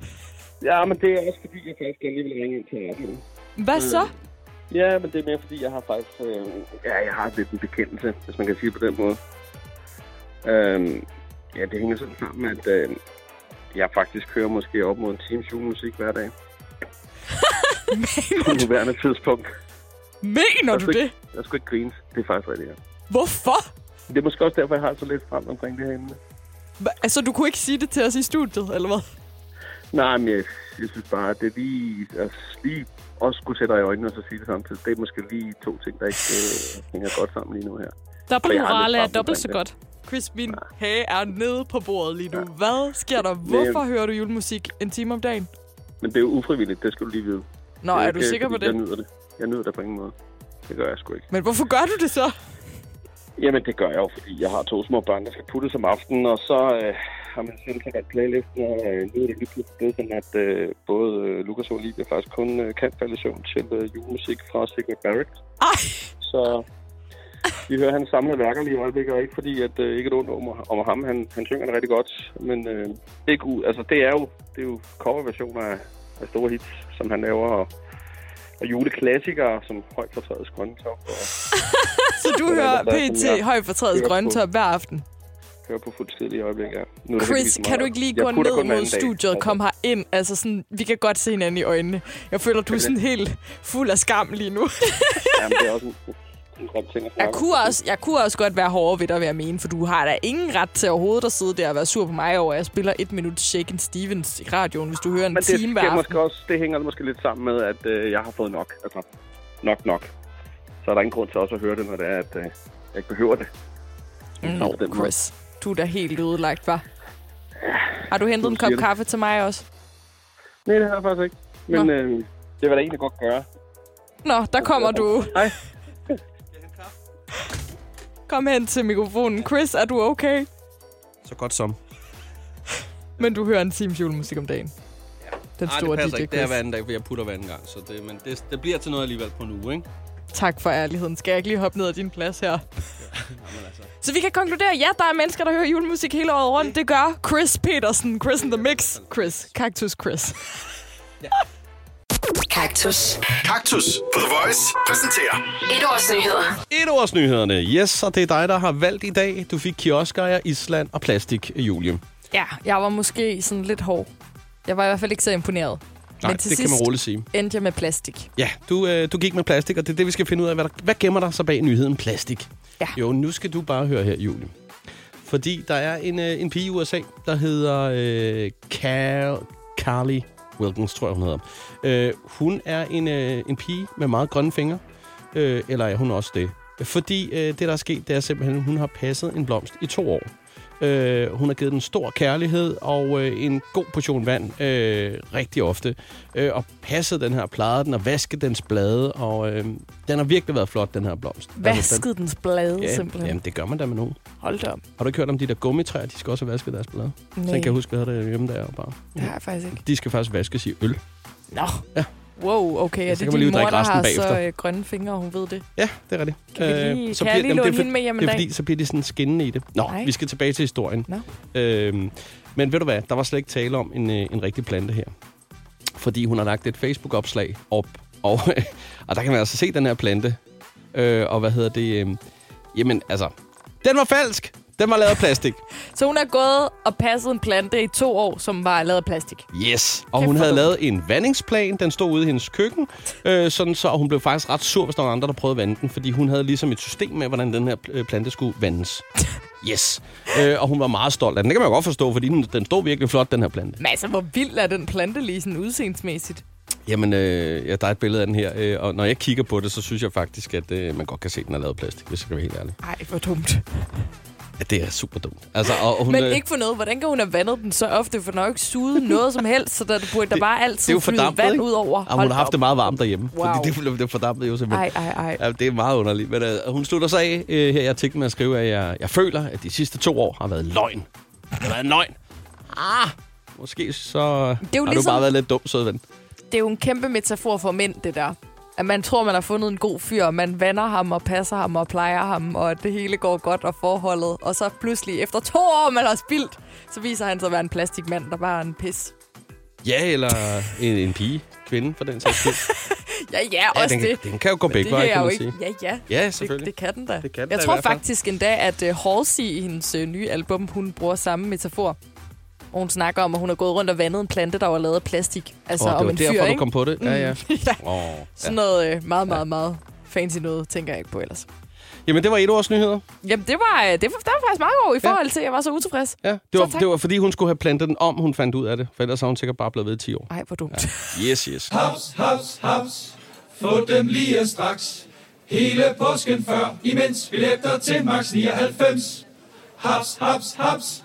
[SPEAKER 5] Ja, men det er også fordi, jeg faktisk gerne lige vil ringe ind til jer. Mm.
[SPEAKER 4] Hvad så?
[SPEAKER 5] Ja, men det er mere fordi, jeg har faktisk... Øh, ja, jeg har lidt en bekendelse, hvis man kan sige det på den måde. Øh, ja, det hænger sådan sammen, at øh, jeg faktisk kører måske op mod en times julemusik hver dag. på nuværende tidspunkt.
[SPEAKER 4] Mener du det?
[SPEAKER 5] Jeg skulle ikke grine. Det er faktisk rigtigt, ja.
[SPEAKER 4] Hvorfor?
[SPEAKER 5] Det er måske også derfor, jeg har så lidt frem omkring det her emne.
[SPEAKER 4] Hva? Altså, du kunne ikke sige det til os i studiet, eller hvad?
[SPEAKER 5] Nej, men jeg, jeg synes bare, at det er lige at lige også kunne sætte dig i øjnene og så sige det samtidig. Det er måske lige to ting, der ikke øh, hænger godt sammen lige nu her.
[SPEAKER 4] Dobbeltmorale
[SPEAKER 5] lidt
[SPEAKER 4] er
[SPEAKER 5] frem
[SPEAKER 4] dobbelt så
[SPEAKER 5] omkring
[SPEAKER 4] godt. Chris, min hage er nede på bordet lige nu. Hvad sker der?
[SPEAKER 5] Men-
[SPEAKER 4] Hvorfor hører du julemusik en time om dagen?
[SPEAKER 5] Men det er jo ufrivilligt, det skal du lige vide.
[SPEAKER 4] Nå,
[SPEAKER 5] Det
[SPEAKER 4] er
[SPEAKER 5] ikke,
[SPEAKER 4] du sikker på
[SPEAKER 5] fordi
[SPEAKER 4] det?
[SPEAKER 5] Jeg nyder det. Jeg nyder det på ingen måde. Det gør jeg sgu ikke.
[SPEAKER 4] Men hvorfor gør du det så?
[SPEAKER 5] Jamen, det gør jeg jo, fordi jeg har to små børn, der skal puttes om aftenen, og så øh, har man selv kan playlisten, og øh, nu er det lige pludselig blevet sådan, at øh, både øh, Lukas og Olivia faktisk kun øh, kan falde i søvn til øh, julemusik fra Sigurd Barrett.
[SPEAKER 4] Ej,
[SPEAKER 5] Så vi hører hans samlede værker lige i øjeblikket, og ikke fordi, at øh, ikke et ondt om, om ham. Han, han synger det rigtig godt, men øh, ikke ud. Altså, det er jo, det er jo coverversioner af, af store hits, som han laver, og, og juleklassikere, som højt fortrædets grøntop, og
[SPEAKER 4] så du
[SPEAKER 5] Det er
[SPEAKER 4] hører
[SPEAKER 5] der, som
[SPEAKER 4] PT
[SPEAKER 5] jeg
[SPEAKER 4] høj fortrædet
[SPEAKER 5] hører på.
[SPEAKER 4] grøntop hver aften.
[SPEAKER 5] kører på fuld tid lige i øjeblikket. Nu er det heldigvis
[SPEAKER 4] Chris,
[SPEAKER 5] meget.
[SPEAKER 4] kan du ikke lige
[SPEAKER 5] Jeg
[SPEAKER 4] gå
[SPEAKER 5] putter
[SPEAKER 4] ned
[SPEAKER 5] kun hver
[SPEAKER 4] mod
[SPEAKER 5] anden dag.
[SPEAKER 4] studiet og
[SPEAKER 5] Altså,
[SPEAKER 4] komme herind? Altså sådan, vi kan godt se hinanden i øjnene. Jeg føler, du er sådan helt fuld af skam lige nu.
[SPEAKER 5] Jamen, det er også en, en grim ting at snakke
[SPEAKER 4] Jeg
[SPEAKER 5] om.
[SPEAKER 4] kunne, også, jeg kunne også godt være hårdere ved dig, vil jeg mene, for du har da ingen ret til overhovedet at sidde der og være sur på mig over, at jeg spiller et minut Shaken Stevens i radioen, hvis du hører en
[SPEAKER 5] Men det,
[SPEAKER 4] time hver
[SPEAKER 5] sker
[SPEAKER 4] aften.
[SPEAKER 5] måske også, det hænger måske lidt sammen med, at øh, jeg har fået nok. Altså, nok nok. Så er der ingen grund til også at høre det, når det er, at øh, jeg ikke behøver det.
[SPEAKER 3] Mm.
[SPEAKER 4] Nå,
[SPEAKER 5] på den måde.
[SPEAKER 4] Chris. Du er da helt ødelagt, var. Har du hentet en kop
[SPEAKER 5] siger du.
[SPEAKER 4] kaffe til mig også?
[SPEAKER 5] Nej, det har jeg faktisk ikke. Men
[SPEAKER 4] Nå.
[SPEAKER 5] øh, det vil jeg da egentlig godt gøre.
[SPEAKER 4] Nå, der kommer du.
[SPEAKER 5] Hej.
[SPEAKER 4] Kom hen til mikrofonen. Chris, er du okay?
[SPEAKER 3] Så godt som.
[SPEAKER 4] Men du hører en times julemusik om dagen. Den
[SPEAKER 3] Nej,
[SPEAKER 4] store
[SPEAKER 3] det passer
[SPEAKER 4] DJ
[SPEAKER 3] ikke. Det er
[SPEAKER 4] Chris.
[SPEAKER 3] hver anden dag, for jeg putter hver anden gang. Så det, men det, det bliver til noget alligevel på en uge, ikke?
[SPEAKER 4] Tak for ærligheden. Skal jeg ikke lige hoppe ned af din plads her?
[SPEAKER 3] altså.
[SPEAKER 4] Så vi kan konkludere, ja, der er mennesker, der hører julemusik hele året rundt. Det gør Chris Petersen. Chris in the Mix. Chris. Cactus Chris.
[SPEAKER 2] Kaktus.
[SPEAKER 1] Kaktus på The Voice præsenterer
[SPEAKER 2] Et års nyheder.
[SPEAKER 3] Et års nyhederne. Yes, og det er dig, der har valgt i dag. Du fik kioskejer, Island og plastik, Julie.
[SPEAKER 4] Ja, jeg var måske sådan lidt hård. Jeg var i hvert fald ikke så imponeret.
[SPEAKER 3] Nej,
[SPEAKER 4] Men til
[SPEAKER 3] det kan
[SPEAKER 4] sidst
[SPEAKER 3] man roligt sige.
[SPEAKER 4] endte jeg med plastik.
[SPEAKER 3] Ja, du, øh, du gik med plastik, og det er det, vi skal finde ud af. Hvad, der, hvad gemmer der sig bag nyheden plastik?
[SPEAKER 4] Ja.
[SPEAKER 3] Jo, nu skal du bare høre her, Julie. Fordi der er en, øh, en pige i USA, der hedder øh, Car- Carly Wilkins, tror jeg, hun hedder. Øh, hun er en, øh, en pige med meget grønne fingre. Øh, eller er hun også det? Fordi øh, det, der er sket, det er simpelthen, at hun har passet en blomst i to år. Øh, hun har givet den stor kærlighed og øh, en god portion vand øh, rigtig ofte. Øh, og passet den her, plejet den og vasket dens blade. Og øh, den har virkelig været flot, den her blomst.
[SPEAKER 4] Vaskede dens blade,
[SPEAKER 3] den, ja,
[SPEAKER 4] simpelthen.
[SPEAKER 3] Jamen, det gør man da med nogen.
[SPEAKER 4] Hold da op.
[SPEAKER 3] Har du ikke hørt om de der gummitræer? De skal også have vasket deres blade.
[SPEAKER 4] Nej,
[SPEAKER 3] Så jeg kan huske, hvad der hjemme der bare.
[SPEAKER 4] det har jeg faktisk ikke.
[SPEAKER 3] De skal faktisk vaskes i øl.
[SPEAKER 4] Nå.
[SPEAKER 3] Ja.
[SPEAKER 4] Wow, okay. Er
[SPEAKER 3] så
[SPEAKER 4] det
[SPEAKER 3] kan man
[SPEAKER 4] din
[SPEAKER 3] lige
[SPEAKER 4] mor,
[SPEAKER 3] drikke
[SPEAKER 4] der
[SPEAKER 3] resten
[SPEAKER 4] har så
[SPEAKER 3] bagefter.
[SPEAKER 4] øh, grønne fingre, og hun ved det?
[SPEAKER 3] Ja, det er rigtigt. Øh,
[SPEAKER 4] Kan, vi lige, kan jeg
[SPEAKER 3] bliver-
[SPEAKER 4] lige
[SPEAKER 3] jamen, det er
[SPEAKER 4] låne
[SPEAKER 3] for-
[SPEAKER 4] hende med hjem en
[SPEAKER 3] Det er
[SPEAKER 4] dag?
[SPEAKER 3] fordi, så bliver de sådan skinnende i det. Nå,
[SPEAKER 4] Nej.
[SPEAKER 3] Nej. vi skal tilbage til historien.
[SPEAKER 4] Nå.
[SPEAKER 3] Øhm, men ved du hvad, der var slet ikke tale om en, øh, en rigtig plante her. Fordi hun har lagt et Facebook-opslag op, og, og der kan man altså se den her plante. Øh, og hvad hedder det? Øh, jamen, altså, den var falsk! Den var lavet af plastik.
[SPEAKER 4] Så hun har gået og passet en plante i to år, som var lavet af plastik.
[SPEAKER 3] Yes. Og
[SPEAKER 4] Kæft,
[SPEAKER 3] hun
[SPEAKER 4] hvor
[SPEAKER 3] havde
[SPEAKER 4] dumt.
[SPEAKER 3] lavet en vandingsplan. Den stod ude i hendes køkken. Øh, sådan så, og hun blev faktisk ret sur, hvis der var andre, der prøvede at vande den. Fordi hun havde ligesom et system med, hvordan den her øh, plante skulle vandes. Yes. Øh, og hun var meget stolt af den. Det kan man jo godt forstå, fordi den, den stod virkelig flot, den her plante.
[SPEAKER 4] Men altså, hvor vild er den plante lige sådan udseendsmæssigt?
[SPEAKER 3] Jamen, øh, ja, der er et billede af den her. Øh, og når jeg kigger på det, så synes jeg faktisk, at øh, man godt kan se, at den er lavet af plastik, hvis jeg skal være helt ærlig.
[SPEAKER 4] Ej, hvor dumt.
[SPEAKER 3] Ja, det er super dumt. Altså, og hun,
[SPEAKER 4] Men
[SPEAKER 3] øh,
[SPEAKER 4] ikke for noget. Hvordan kan hun have vandet den så ofte? For den har jo ikke suget noget som helst, så der burde der bare
[SPEAKER 3] det er
[SPEAKER 4] altid
[SPEAKER 3] jo
[SPEAKER 4] flyde
[SPEAKER 3] fordampet,
[SPEAKER 4] vand
[SPEAKER 3] ikke?
[SPEAKER 4] ud over.
[SPEAKER 3] Og hun har haft det
[SPEAKER 4] op.
[SPEAKER 3] meget varmt derhjemme.
[SPEAKER 4] Wow.
[SPEAKER 3] Wow. Fordi det, blev- det fordampede jo simpelthen.
[SPEAKER 4] Ej, ej, ej.
[SPEAKER 3] Ja, det er meget underligt. Men uh, hun slutter sig af uh, her. Jeg tænkte med at skrive, at jeg, jeg føler, at de sidste to år har været løgn. Det har været en løgn. Ah, måske så det
[SPEAKER 4] jo
[SPEAKER 3] har
[SPEAKER 4] ligesom-
[SPEAKER 3] du bare været lidt dum, søde ven.
[SPEAKER 4] Det er jo en kæmpe metafor for mænd, det der. At man tror, man har fundet en god fyr, og man vander ham og passer ham og plejer ham, og at det hele går godt og forholdet. Og så pludselig, efter to år, man har spildt, så viser han sig at være en plastikmand, der bare er en pis.
[SPEAKER 3] Ja, eller en, en pige, kvinde for den sags skyld.
[SPEAKER 4] Ja, ja,
[SPEAKER 3] ja,
[SPEAKER 4] også
[SPEAKER 3] den,
[SPEAKER 4] det.
[SPEAKER 3] den kan jo gå
[SPEAKER 4] Men
[SPEAKER 3] begge veje,
[SPEAKER 4] jeg
[SPEAKER 3] kan
[SPEAKER 4] jo
[SPEAKER 3] man sige.
[SPEAKER 4] Ja, ja.
[SPEAKER 3] Ja, selvfølgelig.
[SPEAKER 4] Det, det kan den da.
[SPEAKER 3] Det kan den
[SPEAKER 4] jeg
[SPEAKER 3] da i
[SPEAKER 4] tror
[SPEAKER 3] hvert fald.
[SPEAKER 4] faktisk endda, at uh, Halsey i hendes uh, nye album, hun bruger samme metafor. Og hun snakker om, at hun har gået rundt og vandet en plante, der var lavet af plastik. Altså
[SPEAKER 3] Åh, det
[SPEAKER 4] om
[SPEAKER 3] var
[SPEAKER 4] en
[SPEAKER 3] derfor,
[SPEAKER 4] fyr,
[SPEAKER 3] du
[SPEAKER 4] ikke? Mm.
[SPEAKER 3] kom på det. Ja, ja.
[SPEAKER 4] ja.
[SPEAKER 3] Oh, ja.
[SPEAKER 4] Sådan noget øh, meget, meget, meget fancy noget, tænker jeg ikke på ellers.
[SPEAKER 3] Jamen, det var et års nyheder.
[SPEAKER 4] Jamen, det var, øh, det var, der var faktisk meget god i forhold til, at jeg var så utilfreds.
[SPEAKER 3] Ja,
[SPEAKER 4] Så
[SPEAKER 3] det, var,
[SPEAKER 4] tak.
[SPEAKER 3] det var, fordi hun skulle have plantet den om, hun fandt ud af det. For ellers har hun sikkert bare blevet ved i 10 år.
[SPEAKER 4] Ej, hvor dumt.
[SPEAKER 3] Yes, yes.
[SPEAKER 6] Haps, haps, haps. Få dem lige straks. Hele påsken før, imens billetter til max 99. Haps, haps, haps.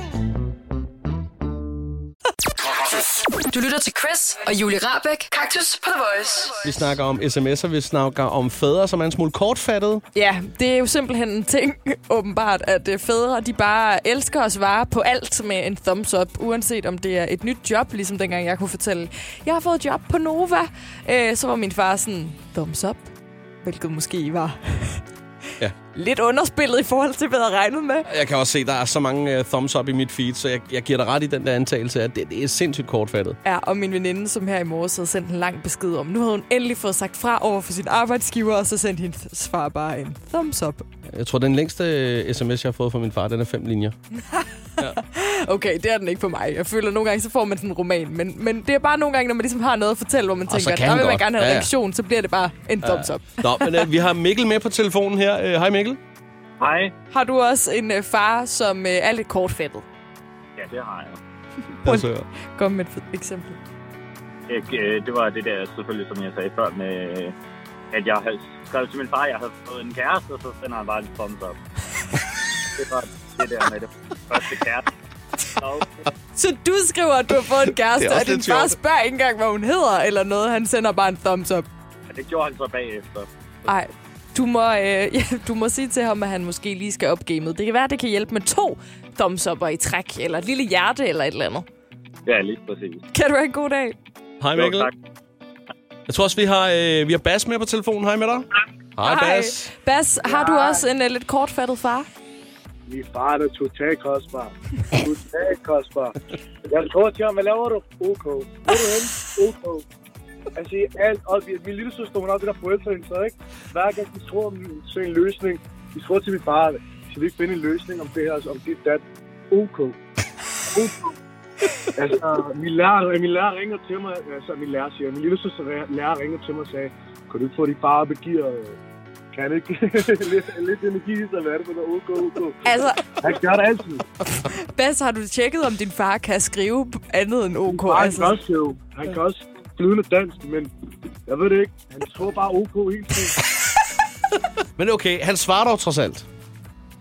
[SPEAKER 2] Du lytter til Chris og Julie Rabeck. Kaktus på The Voice.
[SPEAKER 3] Vi snakker om sms'er, vi snakker om fædre, som er en smule kortfattede.
[SPEAKER 4] Ja, det er jo simpelthen en ting, åbenbart, at øh, fædre, de bare elsker at svare på alt med en thumbs up, uanset om det er et nyt job, ligesom dengang jeg kunne fortælle, jeg har fået job på Nova, øh, så var min far sådan, thumbs up, hvilket måske var
[SPEAKER 3] Ja.
[SPEAKER 4] lidt underspillet i forhold til, hvad jeg havde regnet med.
[SPEAKER 3] Jeg kan også se, der er så mange uh, thumbs up i mit feed, så jeg, jeg giver dig ret i den der antagelse, at det, det er sindssygt kortfattet.
[SPEAKER 4] Ja, og min veninde, som her i morges havde sendt en lang besked om, nu havde hun endelig fået sagt fra over for sin arbejdsgiver, og så sendte hendes far bare en thumbs up.
[SPEAKER 3] Jeg tror, den længste øh, sms, jeg har fået fra min far, den er fem linjer.
[SPEAKER 4] Okay, det er den ikke for mig. Jeg føler, nogle gange, så får man sådan en roman. Men, men det er bare nogle gange, når man ligesom har noget at fortælle, hvor man
[SPEAKER 3] Og så
[SPEAKER 4] tænker,
[SPEAKER 3] kan
[SPEAKER 4] der
[SPEAKER 3] den
[SPEAKER 4] vil man
[SPEAKER 3] godt."
[SPEAKER 4] gerne have en
[SPEAKER 3] Ja, ja.
[SPEAKER 4] reaktion, så bliver det bare en thumbs up.
[SPEAKER 3] Nå, men øh, vi har Mikkel med på telefonen her. Øh, Hej Mikkel.
[SPEAKER 7] Hej.
[SPEAKER 4] Har du også en øh, far, som øh, er lidt kortfattet?
[SPEAKER 7] Ja, det har jeg.
[SPEAKER 3] Lad os høre.
[SPEAKER 4] Kom med et f- eksempel.
[SPEAKER 7] Ikke, øh, Det var det der, selvfølgelig, som jeg sagde før, med, øh, at jeg havde skrevet til min far, at jeg havde fået en kæreste, og så sender han bare en thumbs up. det var det der med det første kæreste. Og
[SPEAKER 4] Så du skriver, at du har fået en kæreste,
[SPEAKER 3] Det er også
[SPEAKER 4] og din
[SPEAKER 3] lidt
[SPEAKER 4] far
[SPEAKER 3] sjovt.
[SPEAKER 4] spørger ikke engang, hvad hun hedder eller noget. Han sender bare en thumbs up.
[SPEAKER 7] og det gjorde han så bagefter.
[SPEAKER 4] Ej, du må, øh, ja, du må sige til ham, at han måske lige skal op gamet. Det kan være, det kan hjælpe med to thumbs up'er i træk, eller et lille hjerte eller et eller andet.
[SPEAKER 7] Ja, lige præcis.
[SPEAKER 4] Kan du have en god dag?
[SPEAKER 3] Hej
[SPEAKER 7] Jo,
[SPEAKER 3] Mikkel.
[SPEAKER 7] tak.
[SPEAKER 3] Jeg tror også, vi har, øh, vi har Bas med på telefonen. Hej med dig. Hej, Bas.
[SPEAKER 4] Bas, har du også en uh, lidt kortfattet far?
[SPEAKER 8] Min far er totalt kostbar. Totalt kostbar. Jeg tror til ham, hvad laver du? OK. Hvor er du henne? OK. Altså, alt op i... Min lille søster, hun har det der forældrehæng, så ikke? Hver gang de tror om sådan en løsning, de tror til min far, skal vi ikke finde en løsning om det her, altså, om dit dat? OK. OK. Altså, min lærer, min lærer ringer til mig, altså min lærer siger, min lille søster lærer ringer til mig og sagde, kan du ikke få din far op i gear? Kan han ikke lidt, lidt energi, så hvad er det for noget? OK, OK.
[SPEAKER 4] Altså,
[SPEAKER 8] Han gør det altid.
[SPEAKER 4] Bas, har du tjekket, om din far kan skrive andet end OK?
[SPEAKER 8] Og han kan
[SPEAKER 4] altså,
[SPEAKER 8] også jo. Han kan også flydende dansk, men jeg ved det ikke. Han tror bare OK hele tiden.
[SPEAKER 3] Men okay, han svarer dog trods alt.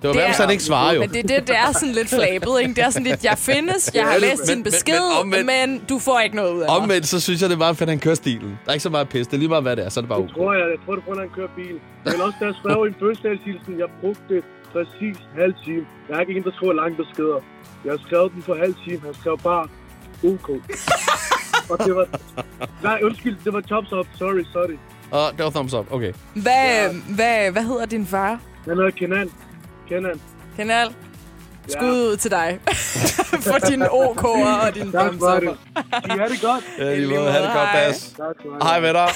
[SPEAKER 3] Det var
[SPEAKER 4] Det
[SPEAKER 3] værd,
[SPEAKER 4] er-
[SPEAKER 3] hvis han ikke svarer jo.
[SPEAKER 4] men det, det, det er sådan lidt flabet, ikke? Det er sådan lidt, jeg findes, jeg har
[SPEAKER 3] Ja, det-
[SPEAKER 4] læst
[SPEAKER 3] men-
[SPEAKER 4] din
[SPEAKER 3] men-
[SPEAKER 4] besked,
[SPEAKER 3] men
[SPEAKER 4] men,
[SPEAKER 3] omvendt-
[SPEAKER 4] du får ikke noget ud af mig.
[SPEAKER 3] Omvendt, så synes jeg, det er meget fedt, at han kører stilen. Der er ikke så meget pis. Det er lige meget, hvad det er, så er det bare
[SPEAKER 8] Jeg
[SPEAKER 3] okay.
[SPEAKER 8] tror, jeg, jeg tror, det er på, grund af, at han kører bil. Men også, da jeg skrev en fødselsdagshilsen, jeg brugte præcis halv time. Jeg er ikke en, der skriver lange beskeder. Jeg skrev den for halv time. Han skrev bare OK. Og det var... Nej, undskyld, det var tops up. Sorry, sorry.
[SPEAKER 3] Og det var thumbs up. Okay.
[SPEAKER 4] Hvad, hvad, hvad hedder din far?
[SPEAKER 8] Han hedder Kenan. Kenan.
[SPEAKER 4] Kanal? Skud ud til dig. For din OK'er og din
[SPEAKER 8] Tak
[SPEAKER 4] thumbs
[SPEAKER 8] for det.
[SPEAKER 4] up'er.
[SPEAKER 8] I er det godt.
[SPEAKER 3] Ja, lige
[SPEAKER 4] måde.
[SPEAKER 3] måde. Ha' det godt,
[SPEAKER 4] Hej.
[SPEAKER 3] Bas.
[SPEAKER 8] Tak for det.
[SPEAKER 3] Hej med dig.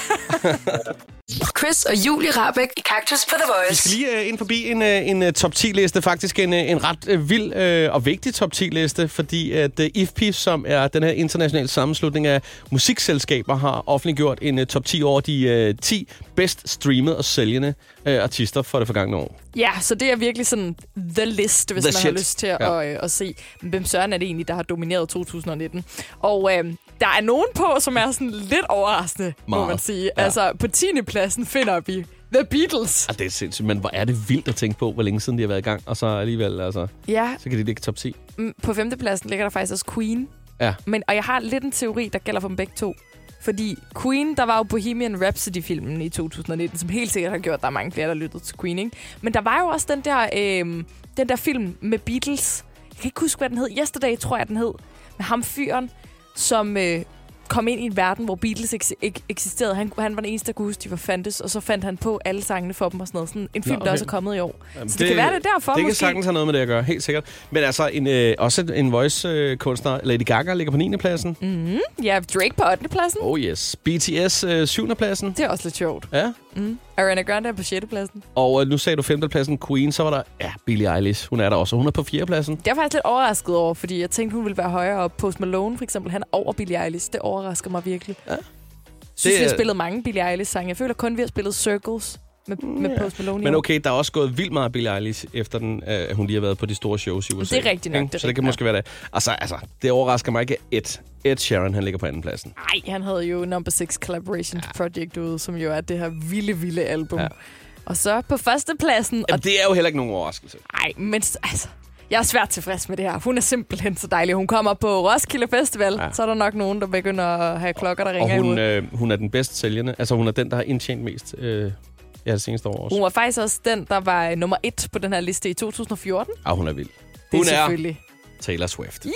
[SPEAKER 2] Chris og Julie Rabeck i Kaktus på The
[SPEAKER 3] Vi
[SPEAKER 2] Voice.
[SPEAKER 3] skal lige øh, ind forbi en, øh, en øh, top 10-liste, faktisk en, øh, en ret øh, vild øh, og vigtig top 10-liste, fordi at øh, IFPI, som er den her internationale sammenslutning af musikselskaber, har offentliggjort en øh, top 10 over de øh, 10 bedst streamede og sælgende øh, artister for det forgangne år.
[SPEAKER 4] Ja, så det er virkelig sådan the list, hvis
[SPEAKER 3] The
[SPEAKER 4] man har
[SPEAKER 3] shit.
[SPEAKER 4] lyst til
[SPEAKER 3] Ja.
[SPEAKER 4] at, øh, at se, hvem søren er det egentlig, der har domineret 2019. Og øh, der er nogen på, som er sådan lidt overraskende, må
[SPEAKER 3] Meget.
[SPEAKER 4] man sige.
[SPEAKER 3] Ja.
[SPEAKER 4] Ja. Altså, på 10. pladsen finder vi The Beatles.
[SPEAKER 3] Ah, det er sindssygt, men hvor er det vildt at tænke på, hvor længe siden de har været i gang, og så alligevel, altså,
[SPEAKER 4] Ja,
[SPEAKER 3] så kan de ligge i top 10.
[SPEAKER 4] mm, på 5. pladsen ligger der faktisk også Queen.
[SPEAKER 3] Ja.
[SPEAKER 4] Men, og jeg har lidt en teori, der gælder for dem begge to. Fordi Queen, der var jo Bohemian Rhapsody-filmen i 2019, som helt sikkert har gjort, at der er mange flere, der lyttede til Queen, ikke? Men der var jo også den der, øh, den der film med Beatles. Jeg kan ikke huske, hvad den hed. Yesterday, tror jeg, den hed. Med ham fyren, som øh, kom ind i en verden, hvor Beatles ikke, ikke eksisterede. Han, han var den eneste, der kunne huske, de var fandtes. Og så fandt han på alle sangene for dem og sådan noget. Sådan en film, Nå, okay.
[SPEAKER 3] okay.
[SPEAKER 4] der også er kommet i år. Jamen, så
[SPEAKER 3] det-
[SPEAKER 4] det, det kan være, det er derfor,
[SPEAKER 3] det kan
[SPEAKER 4] måske.
[SPEAKER 3] sagtens have noget med det at gøre, helt sikkert. Men altså, en, øh, også en voice-kunstner, Lady Gaga, ligger på 9. pladsen. Mm.
[SPEAKER 4] Ja, Drake på 8. pladsen.
[SPEAKER 3] Oh yes. BTS øh, 7. pladsen.
[SPEAKER 4] Det er også lidt sjovt.
[SPEAKER 3] Ja,
[SPEAKER 4] Ariana Grande er på 6. pladsen.
[SPEAKER 3] og øh, nu sagde du 5. pladsen Queen, så var der, ja, Billie Eilish, hun er der også, hun er på 4. pladsen.
[SPEAKER 4] Det er jeg faktisk lidt overrasket over, fordi jeg tænkte, hun ville være højere op. Post Malone, for eksempel, han er over Billie Eilish. Det overrasker mig virkelig. Ja. Synes,
[SPEAKER 3] Det
[SPEAKER 4] det, vi har
[SPEAKER 3] er-
[SPEAKER 4] spillet mange Billie Eilish-sange. Jeg føler kun, vi har spillet Circles med, med Post Malone. i
[SPEAKER 3] Mm, Men
[SPEAKER 4] år.
[SPEAKER 3] okay, der er også gået vildt meget Billie Eilish, efter den, øh, hun lige har været på de store shows i USA.
[SPEAKER 4] Det er rigtigt nok,
[SPEAKER 3] Ikke?
[SPEAKER 4] det er
[SPEAKER 3] så det kan
[SPEAKER 4] rigtigt
[SPEAKER 3] måske være det. Altså, altså, det overrasker mig ikke, at Ed, Ed Sheeran, han ligger på anden pladsen.
[SPEAKER 4] Nej, han havde jo Number 6 Collaboration ja. Project ude, som jo er det her vilde, vilde album.
[SPEAKER 3] Ja.
[SPEAKER 4] Ja. Og så på førstepladsen...
[SPEAKER 3] Jamen, det er jo heller ikke nogen overraskelse.
[SPEAKER 4] Nej, men s- altså, jeg er svært tilfreds med det her. Hun er simpelthen så dejlig. Hun kommer på Roskilde Festival, ja. så er der nok nogen, der begynder at have klokker, der ringer
[SPEAKER 3] Og
[SPEAKER 4] i
[SPEAKER 3] hun,
[SPEAKER 4] hovedet.
[SPEAKER 3] øh, hun er den bedst sælgende. Altså, hun er den, der har indtjent mest øh, ja, det seneste år også.
[SPEAKER 4] Hun var faktisk også den, der var øh, nummer et på den her liste i 2014. Det
[SPEAKER 3] Ah, hun er vild.
[SPEAKER 4] er
[SPEAKER 3] Hun er
[SPEAKER 4] selvfølgelig.
[SPEAKER 3] Taylor Swift.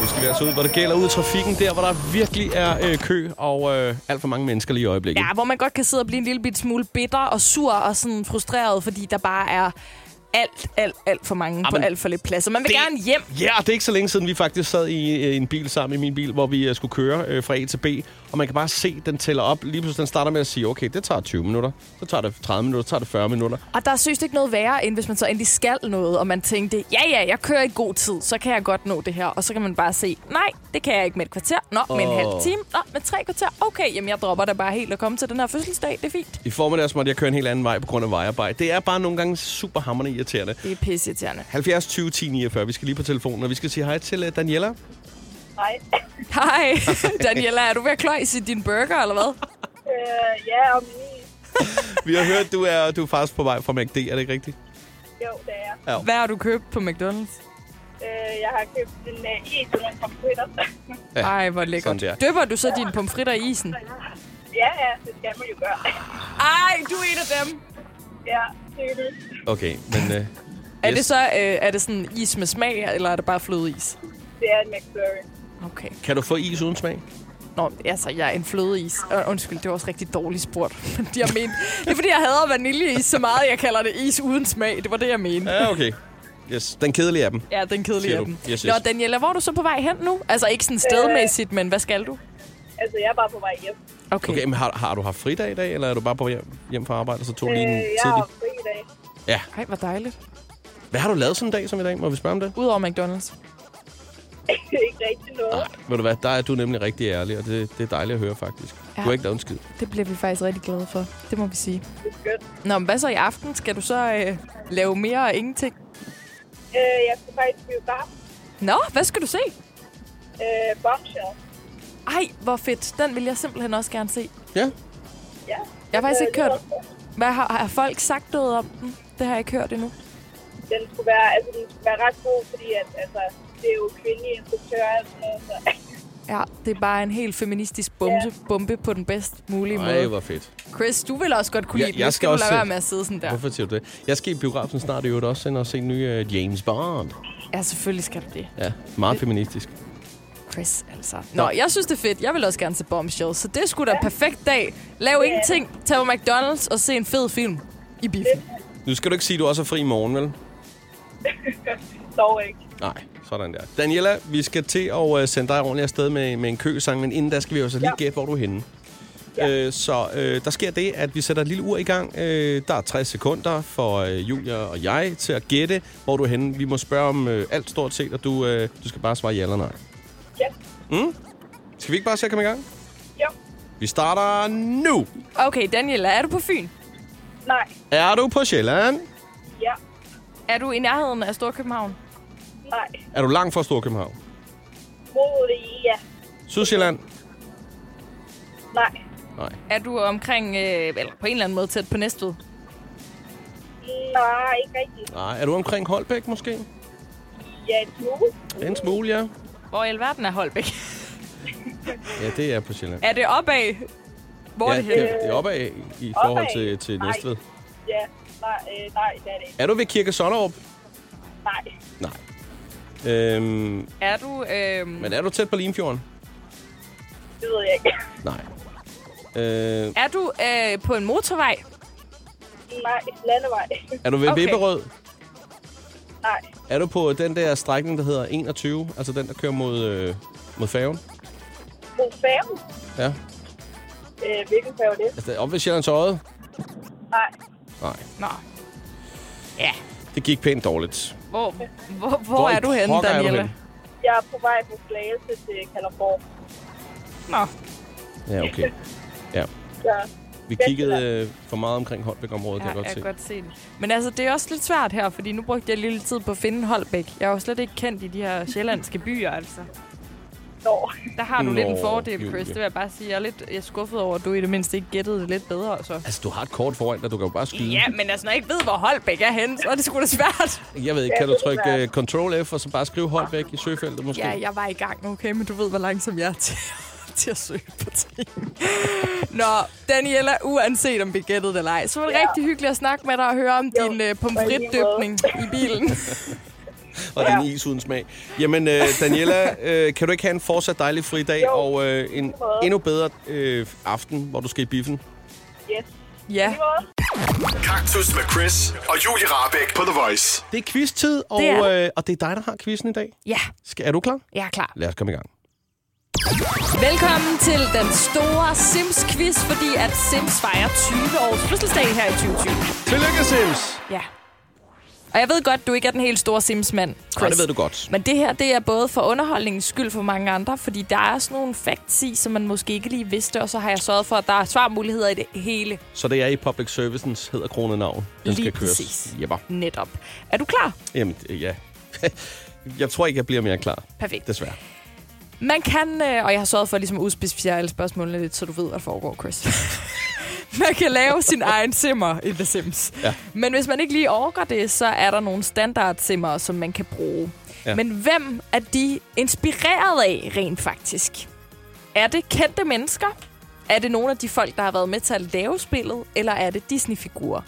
[SPEAKER 3] Nu skal vi altså ud, hvor det gælder ud i trafikken, der hvor der virkelig er øh, kø og øh, alt for mange mennesker lige i øjeblikket.
[SPEAKER 4] Ja, hvor man godt kan sidde og blive en lille bit smule bitter og sur og sådan frustreret, fordi der bare er alt, alt, alt for mange Jamen, på
[SPEAKER 3] Jamen,
[SPEAKER 4] alt for lidt plads. Og man vil
[SPEAKER 3] det-
[SPEAKER 4] gerne hjem.
[SPEAKER 3] Ja, og det er ikke så længe siden, vi faktisk sad i øh, en bil sammen i min bil, hvor vi øh, skulle køre øh, fra A til B. Og man kan bare se, den tæller op. Lige pludselig den starter med at sige, okay, det tager 20 minutter. Så tager det 30 minutter, så tager det 40 minutter.
[SPEAKER 4] Og der synes ikke noget værre, end hvis man så endelig skal noget, og man tænkte, ja, ja, jeg kører i god tid, så kan jeg godt nå det her. Og så kan man bare se, nej, det kan jeg ikke med et kvarter. Nå, med en
[SPEAKER 3] Åh.
[SPEAKER 4] halv time. Nå, med tre kvarter. Okay, jamen jeg dropper da bare helt og komme til den her fødselsdag. Det er fint.
[SPEAKER 3] I formiddags måtte jeg køre en helt anden vej på grund af vejarbejde. Det er bare nogle gange super hammerne irriterende.
[SPEAKER 4] Det er pisseirriterende.
[SPEAKER 3] 70 20 10 49. Vi skal lige på telefonen, og vi skal sige hej til øh, Daniela.
[SPEAKER 9] Nej.
[SPEAKER 4] Hej, Daniela, er du ved at kløjs i din burger, eller hvad?
[SPEAKER 9] Øh, ja, og min...
[SPEAKER 3] Vi har hørt, du er, du er faktisk på vej fra MACD, er det ikke rigtigt?
[SPEAKER 9] Jo, det er jeg.
[SPEAKER 3] Ja.
[SPEAKER 4] Hvad har du købt på McDonald's?
[SPEAKER 9] øh, Jeg har købt en uh, is og nogle pomfritter.
[SPEAKER 3] Ja,
[SPEAKER 4] Ej, hvor lækkert.
[SPEAKER 3] sådan der.
[SPEAKER 4] Døber du så dine pomfritter i isen?
[SPEAKER 9] ja, ja, det skal man jo gøre.
[SPEAKER 4] Ej, du er en af dem.
[SPEAKER 9] ja, det er det.
[SPEAKER 3] Okay, men øh,
[SPEAKER 4] Er
[SPEAKER 3] Yes.
[SPEAKER 4] det så øh, er det sådan is med smag, eller er det bare flødeis?
[SPEAKER 9] Det er en McFlurry.
[SPEAKER 4] Okay.
[SPEAKER 3] kan du få is uden smag?
[SPEAKER 4] Nå, altså, jeg er en flødeis. Øh, undskyld, det var også rigtig dårligt spurgt. Men jeg mente, det er, fordi jeg hader vaniljeis så meget, jeg kalder det is uden smag. Det var det, jeg mente.
[SPEAKER 3] Ja, okay. Yes, den kedelige af dem.
[SPEAKER 4] Ja, den kedelige
[SPEAKER 3] Siger du.
[SPEAKER 4] af dem.
[SPEAKER 3] Yes, yes.
[SPEAKER 4] Nå, Daniela, hvor er du så på vej hen nu? Altså, ikke sådan stedmæssigt, men hvad skal du?
[SPEAKER 9] Øh. Altså, jeg er bare på vej hjem.
[SPEAKER 4] Okay.
[SPEAKER 3] Okay, men har, har du haft fridag i dag, eller er du bare på hjem, hjem fra arbejde, og så tog lige en
[SPEAKER 9] Øh, jeg
[SPEAKER 3] tidlig?
[SPEAKER 9] har fri i dag.
[SPEAKER 4] Ej, hvor dejligt.
[SPEAKER 3] Hvad har du lavet sådan en dag som i dag? Må vi spørge om det?
[SPEAKER 4] Udover McDonald's.
[SPEAKER 9] ikke rigtig noget.
[SPEAKER 3] Ved du hvad, der er du nemlig rigtig ærlig, og det, det er dejligt at høre faktisk. Ja.
[SPEAKER 4] Ja.
[SPEAKER 3] Du er ikke lavet en skid.
[SPEAKER 4] Det bliver vi faktisk rigtig glade for. Det må vi sige.
[SPEAKER 9] Det er skønt.
[SPEAKER 4] Nå, men hvad så i aften? Skal du så øh, lave mere og ingenting?
[SPEAKER 9] Øh, jeg skal faktisk blive bare
[SPEAKER 4] Nå, hvad skal du se?
[SPEAKER 9] øh, bombshell.
[SPEAKER 4] Ej, hvor fedt. Den vil jeg simpelthen også gerne se.
[SPEAKER 3] Ja.
[SPEAKER 9] Ja.
[SPEAKER 4] Jeg har faktisk
[SPEAKER 9] Øh,
[SPEAKER 4] ikke hørt...
[SPEAKER 9] det var-
[SPEAKER 4] Hvad har, har folk sagt noget om den? Det har jeg ikke hørt endnu.
[SPEAKER 9] Den skulle være, altså, den skulle være ret god, fordi at, altså, det er jo kvindelige instruktører og sådan noget, så
[SPEAKER 4] Ja, det er bare en helt feministisk bombe, bombe på den bedst mulige
[SPEAKER 3] Ej,
[SPEAKER 4] måde.
[SPEAKER 3] hvor fedt.
[SPEAKER 4] Chris, du vil også godt kunne
[SPEAKER 3] Ja,
[SPEAKER 4] lide den.
[SPEAKER 3] jeg
[SPEAKER 4] Nu
[SPEAKER 3] skal
[SPEAKER 4] du
[SPEAKER 3] også
[SPEAKER 4] lade
[SPEAKER 3] se-
[SPEAKER 4] være med at sidde sådan der.
[SPEAKER 3] Ja. Hvorfor siger du det? Jeg skal i biografen snart i øvrigt også ind og se en ny uh, James Bond.
[SPEAKER 4] Ja, selvfølgelig skal du det.
[SPEAKER 3] Ja, meget feministisk.
[SPEAKER 4] Chris, altså. Nå, jeg synes, det er fedt. Jeg vil også gerne se Bombshell, så det skulle da en perfekt dag. Lav ingenting, tag på McDonald's og se en fed film i biffen.
[SPEAKER 3] Nu skal du ikke sige, at du også er fri i morgen, vel?
[SPEAKER 9] dog ikke.
[SPEAKER 3] Nej, sådan der. Daniela, vi skal til at øh, sende dig ordentligt afsted med, med en køsang, men inden da skal vi jo så lige gætte, hvor du er henne. Ja. Øh, så øh, der sker det, at vi sætter et lille ur i gang. Øh, der er 60 sekunder for øh, Julia og jeg til at gætte, hvor du er henne. Vi må spørge om øh, alt stort set, og du, øh, du skal bare svare ja eller nej.
[SPEAKER 9] Ja.
[SPEAKER 3] Mm? Skal vi ikke bare se at komme i gang?
[SPEAKER 9] Jo.
[SPEAKER 3] Vi starter nu.
[SPEAKER 4] Okay, Daniela, er du på Fyn?
[SPEAKER 9] Nej.
[SPEAKER 3] Er du på Sjælland?
[SPEAKER 9] Ja.
[SPEAKER 4] Er du i nærheden af Storkøbenhavn?
[SPEAKER 9] Nej.
[SPEAKER 3] Er du langt fra Storkøbenhavn?
[SPEAKER 9] Mod ja.
[SPEAKER 3] Sydsjælland?
[SPEAKER 9] Nej.
[SPEAKER 3] Nej.
[SPEAKER 4] Er du omkring, øh, eller på en eller anden måde tæt på Næstved?
[SPEAKER 9] Nej, ikke rigtigt.
[SPEAKER 3] Nej. Er du omkring Holbæk måske?
[SPEAKER 9] Ja, en smule.
[SPEAKER 3] En smule, ja.
[SPEAKER 4] Hvor i alverden er Holbæk?
[SPEAKER 3] Ja, det er på Sjælland.
[SPEAKER 4] Er det opad? Hvor er
[SPEAKER 3] ja,
[SPEAKER 4] det henne?
[SPEAKER 3] Det er opad i forhold
[SPEAKER 9] Opad?
[SPEAKER 3] til, til
[SPEAKER 9] Nej.
[SPEAKER 3] Næstved.
[SPEAKER 9] Ja, nej, øh, nej, det er det ikke.
[SPEAKER 3] Er du ved Kirke Sonnerup?
[SPEAKER 9] Nej.
[SPEAKER 3] Nej. Øhm,
[SPEAKER 4] Er du... Øh,
[SPEAKER 3] men er du tæt på Limfjorden?
[SPEAKER 9] Det ved jeg ikke.
[SPEAKER 3] Nej. Øh,
[SPEAKER 4] er du øh, på en motorvej?
[SPEAKER 9] Nej, landevej.
[SPEAKER 3] er du ved okay.
[SPEAKER 4] Okay.
[SPEAKER 3] Vipperød?
[SPEAKER 9] Nej,
[SPEAKER 3] Er du på den der strækning, der hedder 21? Altså den, der kører mod, øh, mod færgen?
[SPEAKER 9] mod færgen.
[SPEAKER 3] Ja.
[SPEAKER 9] Øh, hvilken færge er det?
[SPEAKER 3] Altså op ved Sjællands Øje?
[SPEAKER 9] Nej.
[SPEAKER 3] Nej.
[SPEAKER 4] Nå. Ja.
[SPEAKER 3] Det gik pænt dårligt.
[SPEAKER 4] Hvor, hvor, hvor, hvor
[SPEAKER 3] i
[SPEAKER 4] er du henne,
[SPEAKER 3] pokker er du
[SPEAKER 4] Daniela?
[SPEAKER 3] henne?
[SPEAKER 9] Jeg er på vej fra Slagelse til Kalderborg.
[SPEAKER 4] Nå.
[SPEAKER 3] Ja, okay. Ja.
[SPEAKER 9] Så
[SPEAKER 3] Vi kiggede øh, for meget omkring Holbæk-området, kan jeg godt se.
[SPEAKER 4] godt se det. Men altså, det er også lidt svært her, fordi nu brugte jeg lige lidt tid på at finde Holbæk. Jeg er jo slet ikke kendt i de her sjællandske byer, altså.
[SPEAKER 9] når.
[SPEAKER 4] Der har du
[SPEAKER 3] Nå,
[SPEAKER 4] lidt en fordel,
[SPEAKER 3] Julie.
[SPEAKER 4] Chris. Det vil jeg bare sige. Jeg er lidt jeg er skuffet over, at du i det mindste ikke gættede det lidt bedre. Så.
[SPEAKER 3] Altså, du har et kort foran dig, du kan jo bare skyde.
[SPEAKER 4] Ja, men altså, når jeg ikke ved, hvor Holbæk er henne, så er det sgu da svært.
[SPEAKER 3] Jeg ved ikke, kan du trykke øh, Ctrl F, og så bare skrive Holbæk i søgefeltet måske?
[SPEAKER 4] Ja, jeg var i gang, okay, men du ved, hvor langsom jeg er til, til at søge på ting. Nå, Daniela, uanset om vi gættede det eller ej, så var det ja. rigtig hyggeligt at snakke med dig og høre om jo, din øh, pomfritdøbning i bilen.
[SPEAKER 3] og den is uden smag. Jamen, øh, Daniela, øh, kan du ikke have en fortsat dejlig fri dag, og øh, en endnu bedre øh, aften, hvor du skal i biffen?
[SPEAKER 9] Yes.
[SPEAKER 4] Ja.
[SPEAKER 1] Kaktus med Chris og Julie Rabeck på The Voice.
[SPEAKER 3] Det er quiz-tid, og det
[SPEAKER 1] Det er
[SPEAKER 3] er, øh, og det er dig, der har quizzen i dag.
[SPEAKER 4] Ja.
[SPEAKER 3] Skal, er du klar?
[SPEAKER 4] Jeg er klar.
[SPEAKER 3] Lad os komme i gang.
[SPEAKER 4] Velkommen til den store Sims-quiz, fordi at Sims fejrer 20 års fødselsdag her i 2020.
[SPEAKER 3] Tillykke, Sims!
[SPEAKER 4] Ja. Og jeg ved godt, du ikke er den helt store Sims-mand, Chris.
[SPEAKER 3] Nej, det ved du godt.
[SPEAKER 4] Men det her, det er både for underholdningens skyld for mange andre, fordi der er sådan nogle facts i, som man måske ikke lige vidste, og så har jeg sørget for, at der er svarmuligheder i det hele
[SPEAKER 3] Så det er i public servicens hedder kronenavn. Den
[SPEAKER 4] Lige
[SPEAKER 3] skal køres.
[SPEAKER 4] præcis.
[SPEAKER 3] Jepper.
[SPEAKER 4] netop. Er du klar?
[SPEAKER 3] Jamen, øh, ja. jeg tror ikke, jeg bliver mere klar.
[SPEAKER 4] Perfekt.
[SPEAKER 3] Desværre.
[SPEAKER 4] Man kan, øh, og jeg har sørget for ligesom at udspecificere alle spørgsmålene lidt, så du ved, hvad der foregår, Chris. man kan lave sin egen simmer i The Sims.
[SPEAKER 3] Ja.
[SPEAKER 4] Men hvis man ikke lige overgår det, så er der nogle standardsimmer, som man kan bruge.
[SPEAKER 3] Ja.
[SPEAKER 4] Ja. Men hvem er de inspireret af rent faktisk? Er det kendte mennesker? Er det nogle af de folk, der har været med til at lave spillet? Eller er det Disney-figurer?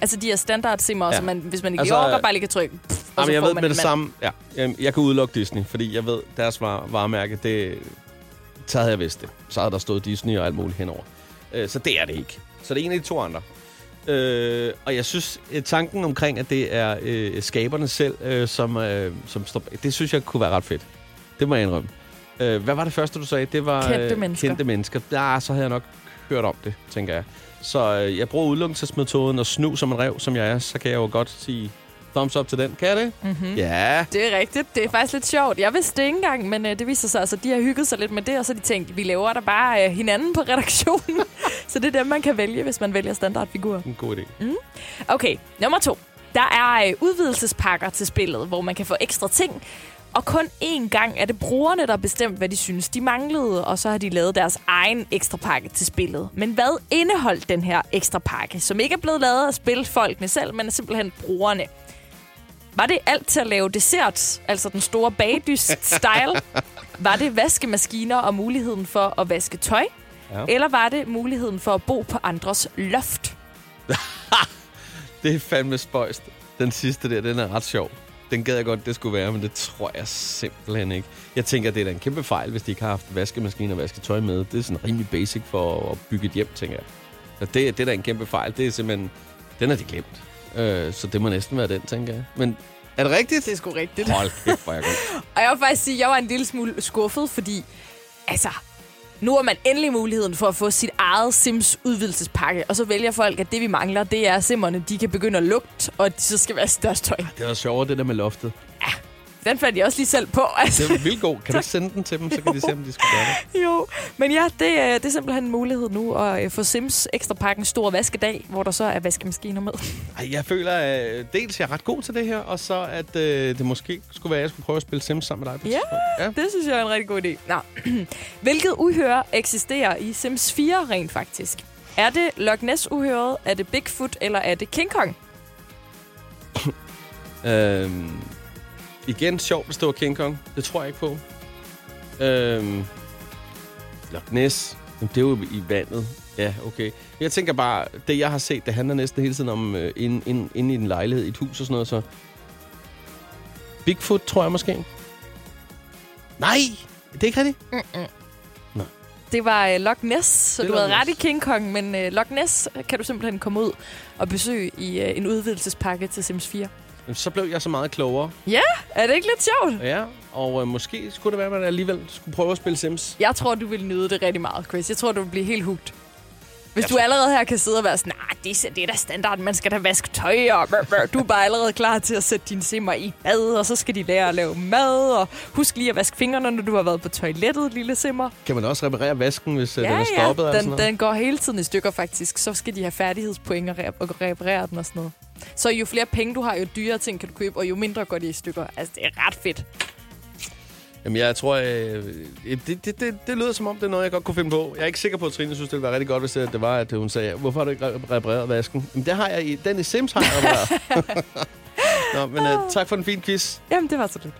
[SPEAKER 4] Altså de her standardsimmer,
[SPEAKER 3] Ja.
[SPEAKER 4] ja. som man, hvis man ikke
[SPEAKER 3] Altså,
[SPEAKER 4] altså, overgår,
[SPEAKER 3] øh,
[SPEAKER 4] bare lige kan trykke. Pff, og så
[SPEAKER 3] Jamen, jeg
[SPEAKER 4] får
[SPEAKER 3] ved
[SPEAKER 4] man
[SPEAKER 3] med det
[SPEAKER 4] en mand.
[SPEAKER 3] samme. Ja, Jamen, jeg kan udelukke Disney, fordi jeg ved, deres var, varemærke, det... Så havde jeg vidst det. Så havde der stået Disney og alt muligt henover. Øh, så det er det ikke. Så det er en af de to andre. Øh, og jeg synes, øh, tanken omkring, at det er øh, skaberne selv, øh, som, øh, som står bag- det synes jeg kunne være ret fedt. Det må jeg indrømme. Øh, hvad var det første, du sagde? Det var øh,
[SPEAKER 4] Kendte mennesker.
[SPEAKER 3] kendte mennesker. Ja, så havde jeg nok hørt om det, tænker jeg. Så øh, jeg bruger udelukkelsesmetoden og snu som en rev, som jeg er. Så kan jeg jo godt sige thumbs up til den. Kan jeg det?
[SPEAKER 4] Mhm.
[SPEAKER 3] Ja.
[SPEAKER 4] Det er rigtigt. Det er faktisk lidt sjovt. Jeg vidste det ikke engang, men øh, det viser sig, at altså, de har hygget sig lidt med det, og så har de tænkt, vi laver der bare øh, hinanden på redaktionen. så det er dem, man kan vælge, hvis man vælger standardfigurer.
[SPEAKER 3] En god idé.
[SPEAKER 4] Okay, nummer to. Der er øh, udvidelsespakker til spillet, hvor man kan få ekstra ting. Og kun én gang er det brugerne, der har bestemt, hvad de synes, de manglede, og så har de lavet deres egen ekstra pakke til spillet. Men hvad indeholdt den her ekstra pakke, som ikke er blevet lavet af spilfolkene selv, men er simpelthen brugerne? Var det alt til at lave dessert, altså den store bagdyst-style? Var det vaskemaskiner og muligheden for at vaske tøj?
[SPEAKER 3] Ja.
[SPEAKER 4] Ja. Eller var det muligheden for at bo på andres loft?
[SPEAKER 3] Det er fandme spøjst. Den sidste der, den er ret sjov. Den gad jeg godt, det skulle være, men det tror jeg simpelthen ikke. Jeg tænker, det er da en kæmpe fejl, hvis de ikke har haft vaskemaskine og vasketøj med. Det er sådan rimelig basic for at bygge et hjem, tænker jeg. Så det, er- det er da en kæmpe fejl. Det er simpelthen... Den er de glemt. Øh, så det må næsten være den, tænker jeg. Men er det rigtigt? Det
[SPEAKER 4] er sgu rigtigt.
[SPEAKER 3] Hold kæft, hvor er jeg god.
[SPEAKER 4] Og jeg vil faktisk sige, at jeg var en lille smule skuffet, fordi altså, nu har man endelig muligheden for at få sit eget Sims udvidelsespakke, og så vælger folk, at det vi mangler, det er at simmerne, de kan begynde at lugte, og at de så skal være størst tøj.
[SPEAKER 3] Det var sjovere, det der med loftet.
[SPEAKER 4] Den fandt jeg også lige selv på. Altså.
[SPEAKER 3] Det var vildt god. Kan du ikke sende den til dem, så kan de se, om de skal gøre det?
[SPEAKER 4] Jo, men ja, det, er- det er simpelthen en mulighed nu at øh, få Sims ekstra pakken stor vaskedag, hvor der så er vaskemaskiner med.
[SPEAKER 3] Ej, Jeg føler, at øh, dels jeg er ret god til det her, og så at øh, det måske skulle være, at jeg skulle prøve at spille Sims sammen med dig. På et
[SPEAKER 4] Ja,
[SPEAKER 3] tidspunkt. ja,
[SPEAKER 4] det synes jeg er en rigtig god idé. Nå. Hvilket uhør eksisterer i Sims 4 rent faktisk? Er det Loch Ness-uhøret, er det Bigfoot, eller er det King Kong?
[SPEAKER 3] Øhm, igen, sjovt, hvis det var King Kong. Det tror jeg ikke på. Øhm, Loch Ness. Jamen, det er jo i vandet. Ja, okay. Jeg tænker bare, det jeg har set, det handler næsten hele tiden om øh, inde ind, ind i en lejlighed, i et hus og sådan noget, så... Bigfoot, tror jeg måske. Nej! Det er ikke rigtigt.
[SPEAKER 4] Mm-mm.
[SPEAKER 3] Nå.
[SPEAKER 4] Det var øh, Loch Ness, så
[SPEAKER 3] Det er
[SPEAKER 4] du havde
[SPEAKER 3] Loch
[SPEAKER 4] ret i King Kong, men øh, Loch Ness kan du simpelthen komme ud og besøge i øh, en udvidelsespakke til Sims 4.
[SPEAKER 3] Jamen, Så blev jeg så meget klogere.
[SPEAKER 4] Ja, er det ikke lidt sjovt?
[SPEAKER 3] Ja, og øh, måske skulle det være, at man alligevel skulle prøve at spille Sims.
[SPEAKER 4] Jeg tror, du vil nyde det rigtig meget, Chris. Jeg tror, du vil blive helt hugt. Hvis
[SPEAKER 3] Jeg
[SPEAKER 4] du
[SPEAKER 3] tror-
[SPEAKER 4] allerede her kan sidde og være sådan, nej, det, er- det er da standard, man skal da vaske tøj, og brr, brr." du er bare allerede klar til at sætte din simmer i bad, og så skal de lære at lave mad, og husk lige at vaske fingrene, når du har været på toilettet, lille simmer.
[SPEAKER 3] Kan man også reparere vasken, hvis ja, den er stoppet? eller sådan
[SPEAKER 4] den,
[SPEAKER 3] noget?
[SPEAKER 4] den går hele tiden i stykker faktisk. Så skal de have færdighedspoint og, rep- og reparere den og sådan noget. Så jo flere penge du har, jo dyrere ting kan du købe, og jo mindre går de i stykker. Altså, det er ret fedt.
[SPEAKER 3] Jamen, jeg tror, øh, det, det, det, det lyder som om, det er noget, jeg godt kunne finde på. Jeg er ikke sikker på, at Trine synes, det ville være rigtig godt, hvis øh, det det var, at hun sagde, hvorfor har du ikke re- repareret vasken? Jamen, det har jeg i, den i Sims har jeg Ah. repareret. Nå, men øh, tak for en fin quiz.
[SPEAKER 4] Jamen, det var så lidt.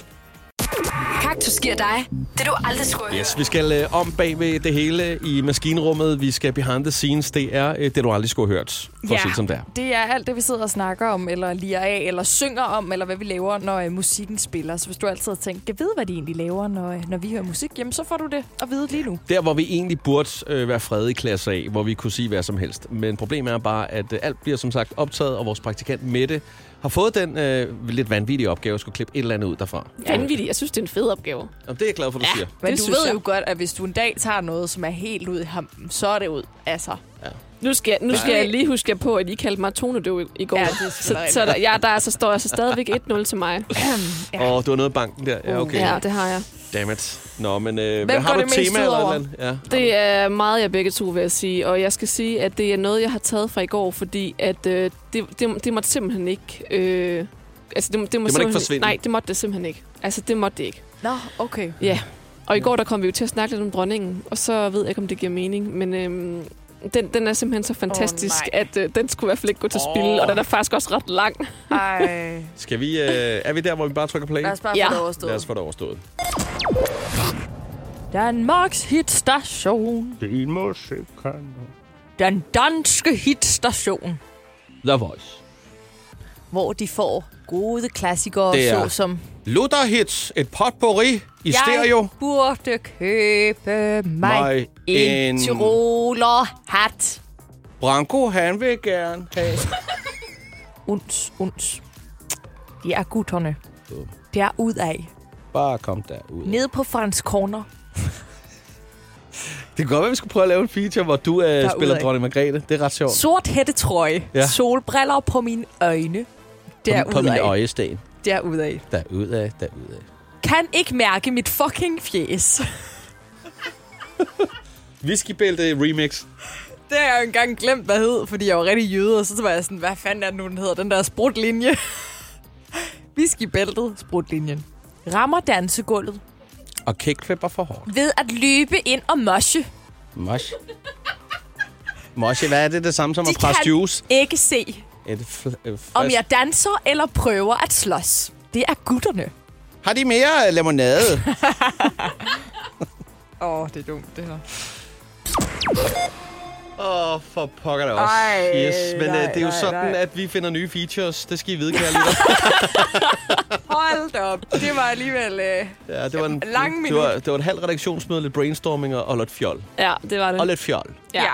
[SPEAKER 2] Kaktus giver dig det, du aldrig skulle have
[SPEAKER 3] Yes, vi skal øh, om bag ved det hele i maskinrummet. Vi skal behind the scenes. Det er øh, det, du aldrig skulle have hørt. For at sige det, som det er.
[SPEAKER 4] det er alt det, vi sidder og snakker om, eller lirer af, eller synger om, eller hvad vi laver, når øh, musikken spiller. Så hvis du altid har tænkt, jeg ved, hvad de egentlig laver, når, øh, når vi hører musik, jamen så får du det at vide lige nu.
[SPEAKER 3] Der, hvor vi egentlig burde øh, være fred i klasse A, hvor vi kunne sige hvad som helst. Men problemet er bare, at øh, alt bliver som sagt optaget, og vores praktikant Mette har fået den øh, lidt vanvittige opgave at skulle klippe et eller andet ud derfra.
[SPEAKER 10] Vanvittigt. Jeg synes, det er en fed opgave.
[SPEAKER 3] Jamen, det er jeg glad for, du ja. siger.
[SPEAKER 4] Men
[SPEAKER 10] Det
[SPEAKER 4] det du
[SPEAKER 10] synes
[SPEAKER 4] ved
[SPEAKER 10] jeg.
[SPEAKER 4] jo godt, at hvis du en dag tager noget, som er helt ud i hampen, så er det ud. Altså,
[SPEAKER 10] Nu skal, nu
[SPEAKER 4] Nej.
[SPEAKER 10] skal jeg lige huske jer på, at I kaldte mig tonedøv i- i går.
[SPEAKER 4] Ja, det
[SPEAKER 10] så,
[SPEAKER 4] er selvfølgelig
[SPEAKER 10] så der, ja, der er, så står jeg så stadigvæk 1-0 til mig.
[SPEAKER 3] Ja. Åh, du har noget i banken der. Ja, okay.
[SPEAKER 10] Ja, det har jeg.
[SPEAKER 3] Dammit. Nå, men øh,
[SPEAKER 10] Hvem
[SPEAKER 3] hvad har
[SPEAKER 10] går
[SPEAKER 3] du
[SPEAKER 10] det
[SPEAKER 3] et
[SPEAKER 10] mest
[SPEAKER 3] tema
[SPEAKER 10] ud
[SPEAKER 3] eller et
[SPEAKER 10] over?
[SPEAKER 3] eller andet? Ja.
[SPEAKER 10] Det er meget jeg begge to, vil jeg sige. Og jeg skal sige, at det er noget, jeg har taget fra i går, fordi at, øh, det, det, det måtte simpelthen ikke... Øh, altså, det, må- det, må
[SPEAKER 3] ikke
[SPEAKER 10] simpelthen-
[SPEAKER 3] forsvinde.
[SPEAKER 10] Nej, det måtte det simpelthen ikke. Altså, det måtte det ikke.
[SPEAKER 4] Nå, okay.
[SPEAKER 10] Ja, og i går der kom vi jo til at snakke lidt om dronningen, Mm. og så ved jeg ikke, om det giver mening, men øhm, den, den er simpelthen så fantastisk, oh, at øh, den skulle i hvert fald ikke gå til oh. spil, og den er faktisk også ret lang.
[SPEAKER 4] Ej.
[SPEAKER 3] Skal vi, øh, er vi der, hvor vi bare trykker play?
[SPEAKER 4] Lad os bare få
[SPEAKER 10] Ja.
[SPEAKER 4] det overstået.
[SPEAKER 3] Lad os få det overstået.
[SPEAKER 4] Danmarks hitstation.
[SPEAKER 3] Det må sikkert.
[SPEAKER 4] Den danske hitstation.
[SPEAKER 3] The Voice.
[SPEAKER 11] hvor de får gode klassikere,
[SPEAKER 3] Det er-
[SPEAKER 11] såsom...
[SPEAKER 3] Luther Hits, et potpourri i stereo.
[SPEAKER 11] Jeg burde købe mig,
[SPEAKER 3] Mig
[SPEAKER 11] en,
[SPEAKER 3] en-
[SPEAKER 11] en tiroler hat.
[SPEAKER 3] Branko, han vil gerne have...
[SPEAKER 11] Uns, uns. De er gutterne. Det er ud af.
[SPEAKER 3] Bare kom derud.
[SPEAKER 11] Nede på Frans Corner.
[SPEAKER 3] Det kan godt være, vi skulle prøve at lave en feature, hvor du øh, spiller
[SPEAKER 11] Derudad.
[SPEAKER 3] dronning Margrethe. Det er ret sjovt.
[SPEAKER 11] Sort hættetrøje.
[SPEAKER 3] Ja.
[SPEAKER 11] Ja. Solbriller på mine øjne.
[SPEAKER 3] på, på min
[SPEAKER 11] Derudad.
[SPEAKER 3] øjesten.
[SPEAKER 11] Derudad.
[SPEAKER 3] Derudad, derudad.
[SPEAKER 11] Kan ikke mærke mit fucking fjes.
[SPEAKER 3] Whiskybælte remix.
[SPEAKER 11] Det har jeg jo engang glemt, hvad hed, fordi jeg var rigtig jøde, og så var jeg sådan, hvad fanden er det nu, den hedder, den der sprutlinje? Whiskybæltet, sprutlinjen. Rammer dansegulvet
[SPEAKER 3] Og kickflipper for hårdt.
[SPEAKER 11] ved at løbe ind og moshe.
[SPEAKER 3] Mosh. Mosh, hvad er det det samme som
[SPEAKER 11] De
[SPEAKER 3] at presse
[SPEAKER 11] kan
[SPEAKER 3] juice?
[SPEAKER 11] ikke se,
[SPEAKER 3] Et fl- øh, frisk-
[SPEAKER 11] om jeg danser eller prøver at slås. Det er gutterne.
[SPEAKER 3] Har de mere øh, limonade?
[SPEAKER 11] Åh, oh, det er dumt, det her.
[SPEAKER 3] Åh, oh, for pokker det også.
[SPEAKER 11] Ej,
[SPEAKER 3] yes, men nej,
[SPEAKER 11] nej,
[SPEAKER 3] det er jo
[SPEAKER 11] nej,
[SPEAKER 3] sådan,
[SPEAKER 11] nej.
[SPEAKER 3] at vi finder nye features. Det skal I vide, kære lytter.
[SPEAKER 11] Hold da op, det var alligevel... Øh...
[SPEAKER 3] Ja, det var en,
[SPEAKER 11] Lang
[SPEAKER 3] det var,
[SPEAKER 11] minut.
[SPEAKER 3] det var et halvt redaktionsmøde, lidt brainstorming og, og lidt fjol.
[SPEAKER 10] Ja, det var det.
[SPEAKER 3] Og lidt fjol.
[SPEAKER 10] Ja. ja.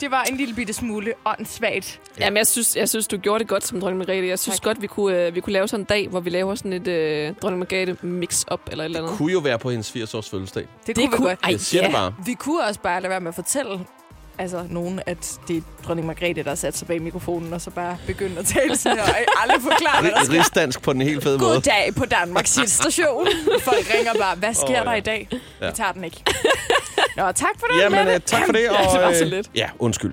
[SPEAKER 11] det var en lille bitte smule åndssvagt.
[SPEAKER 10] Jamen, jeg synes, jeg synes, du gjorde det godt som dronning Margrethe. Jeg synes tak. godt, vi kunne, øh, vi kunne lave sådan en dag, hvor vi laver sådan et øh, dronning Margrethe mix-up eller et eller andet.
[SPEAKER 3] Kunne jo være på hendes 80-års fødselsdag.
[SPEAKER 4] Det, det kunne, vi godt.
[SPEAKER 3] Ej, Jeg siger det ja. bare.
[SPEAKER 4] Vi kunne også bare lade være med at fortælle altså, nogen, at det er dronning Margrethe, der har sat sig bag mikrofonen, og så bare begynde at tale sådan her, og aldrig forklare, hvad der sker.
[SPEAKER 3] Rigsdansk på den helt fede måde.
[SPEAKER 4] God dag på Danmarks station. Folk ringer bare, hvad sker
[SPEAKER 3] Åh, ja.
[SPEAKER 4] oh, der i dag?
[SPEAKER 3] Ja.
[SPEAKER 4] Ja. Vi tager den ikke. Nå, tak for det,
[SPEAKER 3] Jamen,
[SPEAKER 4] Mette.
[SPEAKER 3] øh, tak for det. Og,
[SPEAKER 4] ja, det var så
[SPEAKER 3] øh,
[SPEAKER 4] lidt.
[SPEAKER 3] Ja, undskyld.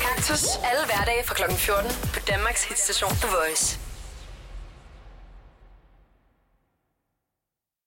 [SPEAKER 2] Kaktus alle hverdage fra kl. 14 på Danmarks hitstation The Voice.